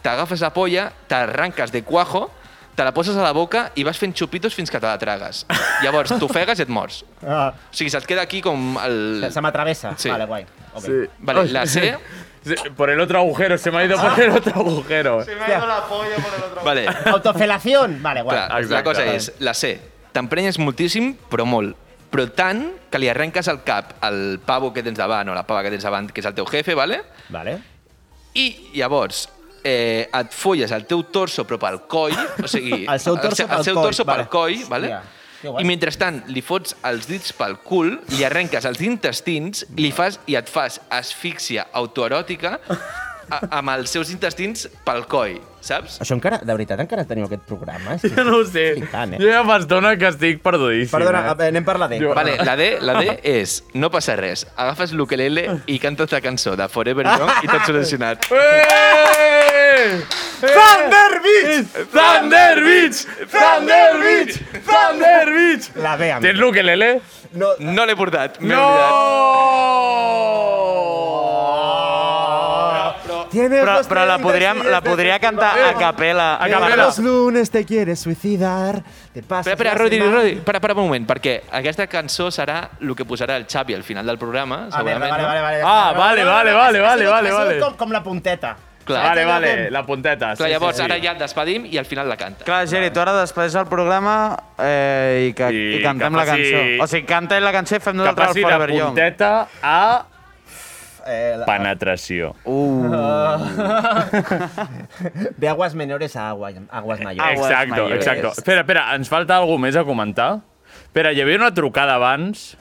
[SPEAKER 3] t'agafes la polla, t'arranques de cuajo, te la poses a la boca i vas fent xupitos fins que te la tragues. Llavors, t'ofegues i et mors.
[SPEAKER 1] Ah,
[SPEAKER 3] O sigui, se't queda aquí com el...
[SPEAKER 1] se se m'atravessa.
[SPEAKER 3] Sí.
[SPEAKER 1] Vale, guai. Okay.
[SPEAKER 2] Mm. Sí.
[SPEAKER 3] Vale,
[SPEAKER 2] Oh,
[SPEAKER 3] la
[SPEAKER 2] sí.
[SPEAKER 3] C-
[SPEAKER 2] Sí, Por el otro agujero, se me ha ido
[SPEAKER 1] Ah.
[SPEAKER 2] por el otro agujero.
[SPEAKER 3] Vale,
[SPEAKER 1] Autofelación. Vale, guai.
[SPEAKER 3] clar, la
[SPEAKER 2] Exacte.
[SPEAKER 3] cosa és la C. T'emprenyes moltíssim, però molt. Però tant que li arrenques el cap al pavo que tens davant o la pava que tens davant, que és el teu jefe, vale?
[SPEAKER 1] Vale.
[SPEAKER 3] I llavors eh, et folles el teu torso però pel coll, o sigui,
[SPEAKER 1] El seu torso
[SPEAKER 3] se-
[SPEAKER 1] pel
[SPEAKER 3] el seu
[SPEAKER 1] coll,
[SPEAKER 3] torso pel
[SPEAKER 1] vale.
[SPEAKER 3] coll, vale?
[SPEAKER 1] Hòstia, que guai.
[SPEAKER 3] I mentrestant li fots els dits pel cul, li arrenques els intestins, li fas i et fas asfíxia autoeròtica a, amb els seus intestins pel coll, saps?
[SPEAKER 1] Això encara, de veritat, encara teniu aquest programa? Sí.
[SPEAKER 2] Jo no ho sé.
[SPEAKER 1] Tant, eh?
[SPEAKER 2] Jo ja m'estona que estic perdudíssim.
[SPEAKER 1] Perdona,
[SPEAKER 2] eh?
[SPEAKER 1] eh, anem per la D.
[SPEAKER 3] Vale, la D, la D és no passa res. Agafes l'ukelele i cantes la cançó de Forever Young i tot solucionat.
[SPEAKER 2] Eh!
[SPEAKER 1] Thunder Beach!
[SPEAKER 2] Thunder Beach! Thunder Beach! Thunder Beach!
[SPEAKER 1] La B,
[SPEAKER 2] Tens
[SPEAKER 1] amic.
[SPEAKER 2] l'ukelele?
[SPEAKER 1] No,
[SPEAKER 3] No l'he portat, m'he oblidat.
[SPEAKER 2] No!
[SPEAKER 1] Tienes
[SPEAKER 4] Però,
[SPEAKER 1] los
[SPEAKER 4] però la,
[SPEAKER 1] 30
[SPEAKER 4] podríem, la
[SPEAKER 1] siguientes
[SPEAKER 4] podria cantar a capella.
[SPEAKER 2] A
[SPEAKER 1] Todos
[SPEAKER 2] capela.
[SPEAKER 1] Los lunes te quieres suicidar. Te pasas
[SPEAKER 3] Espera, espera,
[SPEAKER 1] la
[SPEAKER 3] Rodi,
[SPEAKER 1] semana-
[SPEAKER 3] Rodi, para, para un moment, perquè aquesta cançó serà el que posarà el Xavi al final del programa,
[SPEAKER 1] Ah, merda,
[SPEAKER 3] segurament.
[SPEAKER 1] vale, vale, vale.
[SPEAKER 2] Ah, vale, vale, vale,
[SPEAKER 1] Ha sigut-
[SPEAKER 2] vale, vale,
[SPEAKER 1] ha sigut
[SPEAKER 2] vale.
[SPEAKER 1] Com, com la punteta.
[SPEAKER 3] Este no? Clar,
[SPEAKER 2] Vale, vale, la punteta.
[SPEAKER 3] Clar,
[SPEAKER 2] sí,
[SPEAKER 3] llavors,
[SPEAKER 2] sí, sí.
[SPEAKER 3] ara ja et despedim i al final la canta.
[SPEAKER 4] Clar, Geri, tu ara després del programa eh, i, que,
[SPEAKER 2] I
[SPEAKER 4] I, i cantem
[SPEAKER 2] que
[SPEAKER 4] la
[SPEAKER 2] faci-
[SPEAKER 4] cançó. O sigui, canta la cançó i fem
[SPEAKER 2] Que
[SPEAKER 4] nosaltres
[SPEAKER 2] passi
[SPEAKER 4] el
[SPEAKER 2] la
[SPEAKER 4] Forever Young.
[SPEAKER 2] punteta a
[SPEAKER 1] Eh, la-
[SPEAKER 2] penetració.
[SPEAKER 4] Uh,
[SPEAKER 1] de aguas menores a agua- aguas mayores.
[SPEAKER 2] Exacto,
[SPEAKER 4] mayores.
[SPEAKER 2] exacto. Espera, espera, ens falta alguna més a comentar? Espera, hi havia una trucada abans,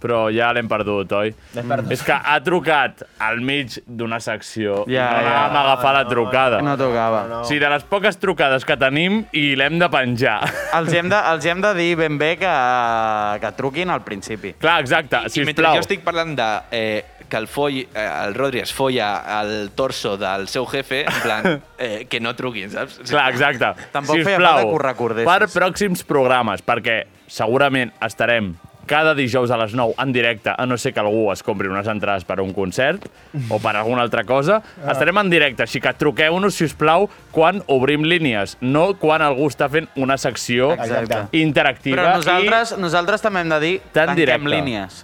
[SPEAKER 2] però ja l'hem perdut, oi?
[SPEAKER 1] L'hem perdut.
[SPEAKER 2] És que ha trucat al mig d'una secció.
[SPEAKER 4] Ja,
[SPEAKER 2] no
[SPEAKER 4] ja.
[SPEAKER 2] anàvem a agafar la trucada.
[SPEAKER 4] No tocava. No, no.
[SPEAKER 2] Sí, de les poques trucades que tenim i l'hem de penjar.
[SPEAKER 4] Els, hem de, els hem de dir ben bé que, que truquin al principi.
[SPEAKER 2] Clar, exacte,
[SPEAKER 3] I mentre
[SPEAKER 2] sisplau.
[SPEAKER 3] jo estic parlant de eh, que el, foll, eh, el Rodri es folla al torso del seu jefe, en plan, eh, que no truquin, saps?
[SPEAKER 2] Clar, exacte.
[SPEAKER 4] Tampoc feia
[SPEAKER 2] Sisplau,
[SPEAKER 4] falta que ho recordessis.
[SPEAKER 2] Per pròxims programes, perquè segurament estarem cada dijous a les 9 en directe, a no ser que algú es compri unes entrades per a un concert o per alguna altra cosa, estarem en directe, així que truqueu-nos, si us plau, quan obrim línies, no quan algú està fent una secció
[SPEAKER 4] Exacte.
[SPEAKER 2] interactiva.
[SPEAKER 4] Però nosaltres, nosaltres també hem de dir
[SPEAKER 2] Tan
[SPEAKER 4] tanquem
[SPEAKER 2] directe.
[SPEAKER 4] línies.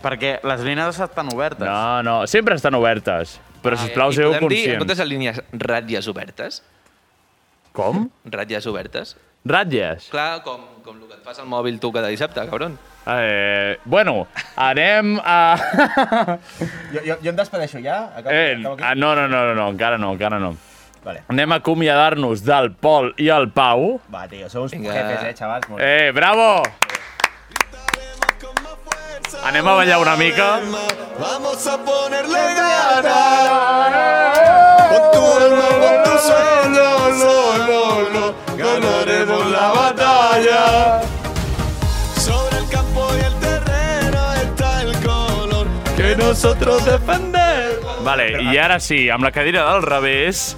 [SPEAKER 4] Perquè les línies estan
[SPEAKER 2] I...
[SPEAKER 4] obertes.
[SPEAKER 2] No, no, sempre estan obertes, però
[SPEAKER 4] Ah,
[SPEAKER 3] Eh,
[SPEAKER 2] sisplau,
[SPEAKER 3] i
[SPEAKER 2] sigueu
[SPEAKER 3] podem dir, en comptes
[SPEAKER 2] conscients.
[SPEAKER 3] de línies, ratlles obertes?
[SPEAKER 2] Com?
[SPEAKER 3] Ratlles obertes?
[SPEAKER 2] Ratlles?
[SPEAKER 3] Clar, com, com el que et fas al mòbil tu cada dissabte, cabron.
[SPEAKER 2] Eh, bueno, anem a...
[SPEAKER 1] Jo, jo, jo em despedeixo ja? Acabo,
[SPEAKER 2] Eh,
[SPEAKER 1] acabo aquí?
[SPEAKER 2] ah, no, no, no, no, no, encara no, encara no.
[SPEAKER 1] Vale.
[SPEAKER 2] Anem a acomiadar-nos del Pol i el Pau.
[SPEAKER 1] Va, tio, sou uns
[SPEAKER 3] Vinga.
[SPEAKER 1] jefes, eh, xavals. Molt bé.
[SPEAKER 2] Eh, bravo! Anem a ballar una mica.
[SPEAKER 10] Vamos a ponerle ganas. Con tu alma, con tus sueños, no, no, no, ganaremos la batalla.
[SPEAKER 3] que nosotros defender.
[SPEAKER 2] Vale, i ara sí, amb la cadira del revés.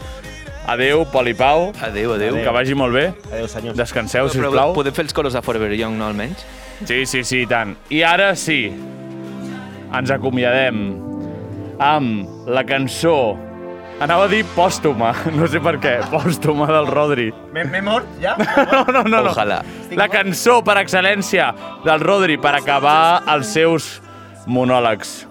[SPEAKER 2] Adeu, Polipau.
[SPEAKER 3] Adeu, adeu.
[SPEAKER 2] Que vagi molt bé.
[SPEAKER 1] Adeu, senyor.
[SPEAKER 2] Descanseu,
[SPEAKER 3] Però- però
[SPEAKER 2] sisplau.
[SPEAKER 3] Podem fer els colors a Forever Young, no, almenys?
[SPEAKER 2] Sí, sí, sí, i tant. I ara sí, ens acomiadem amb la cançó... Anava a dir pòstuma, no sé per què, pòstuma del Rodri.
[SPEAKER 1] M'he m'he mort, ja?
[SPEAKER 2] No, no, no. no.
[SPEAKER 3] Ojalà.
[SPEAKER 2] La cançó per excel·lència del Rodri per acabar els seus monòlegs.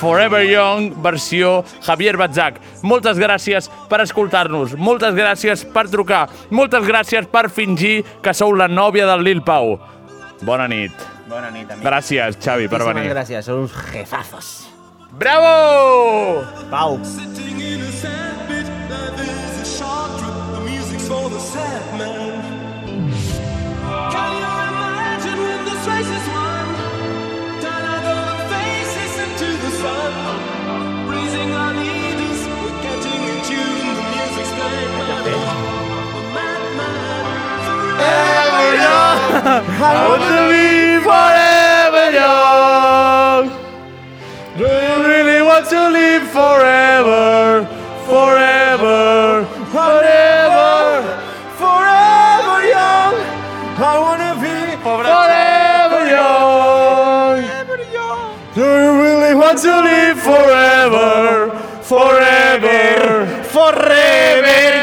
[SPEAKER 2] Forever Young, versió Javier Batzac. Moltes gràcies per escoltar-nos, moltes gràcies per trucar, moltes gràcies per fingir que sou la nòvia del Lil Pau. Bona nit.
[SPEAKER 1] Bona nit, amic.
[SPEAKER 2] Gràcies, Xavi, per venir.
[SPEAKER 1] Moltíssimes gràcies, són uns jefazos.
[SPEAKER 2] Bravo!
[SPEAKER 1] Pau.
[SPEAKER 4] Sitting in a sad bit, now there's a sharp drip. The music's for the sad man. Can you imagine when this race is won? Down I go and faces into the sun. Raising our leaders, we're getting in tune. The music's playing. The madman. Forever
[SPEAKER 2] I want to be forever young. Do you really want to live forever? Forever, forever, forever young. I want to be forever young. Do you really want to live forever? Forever, forever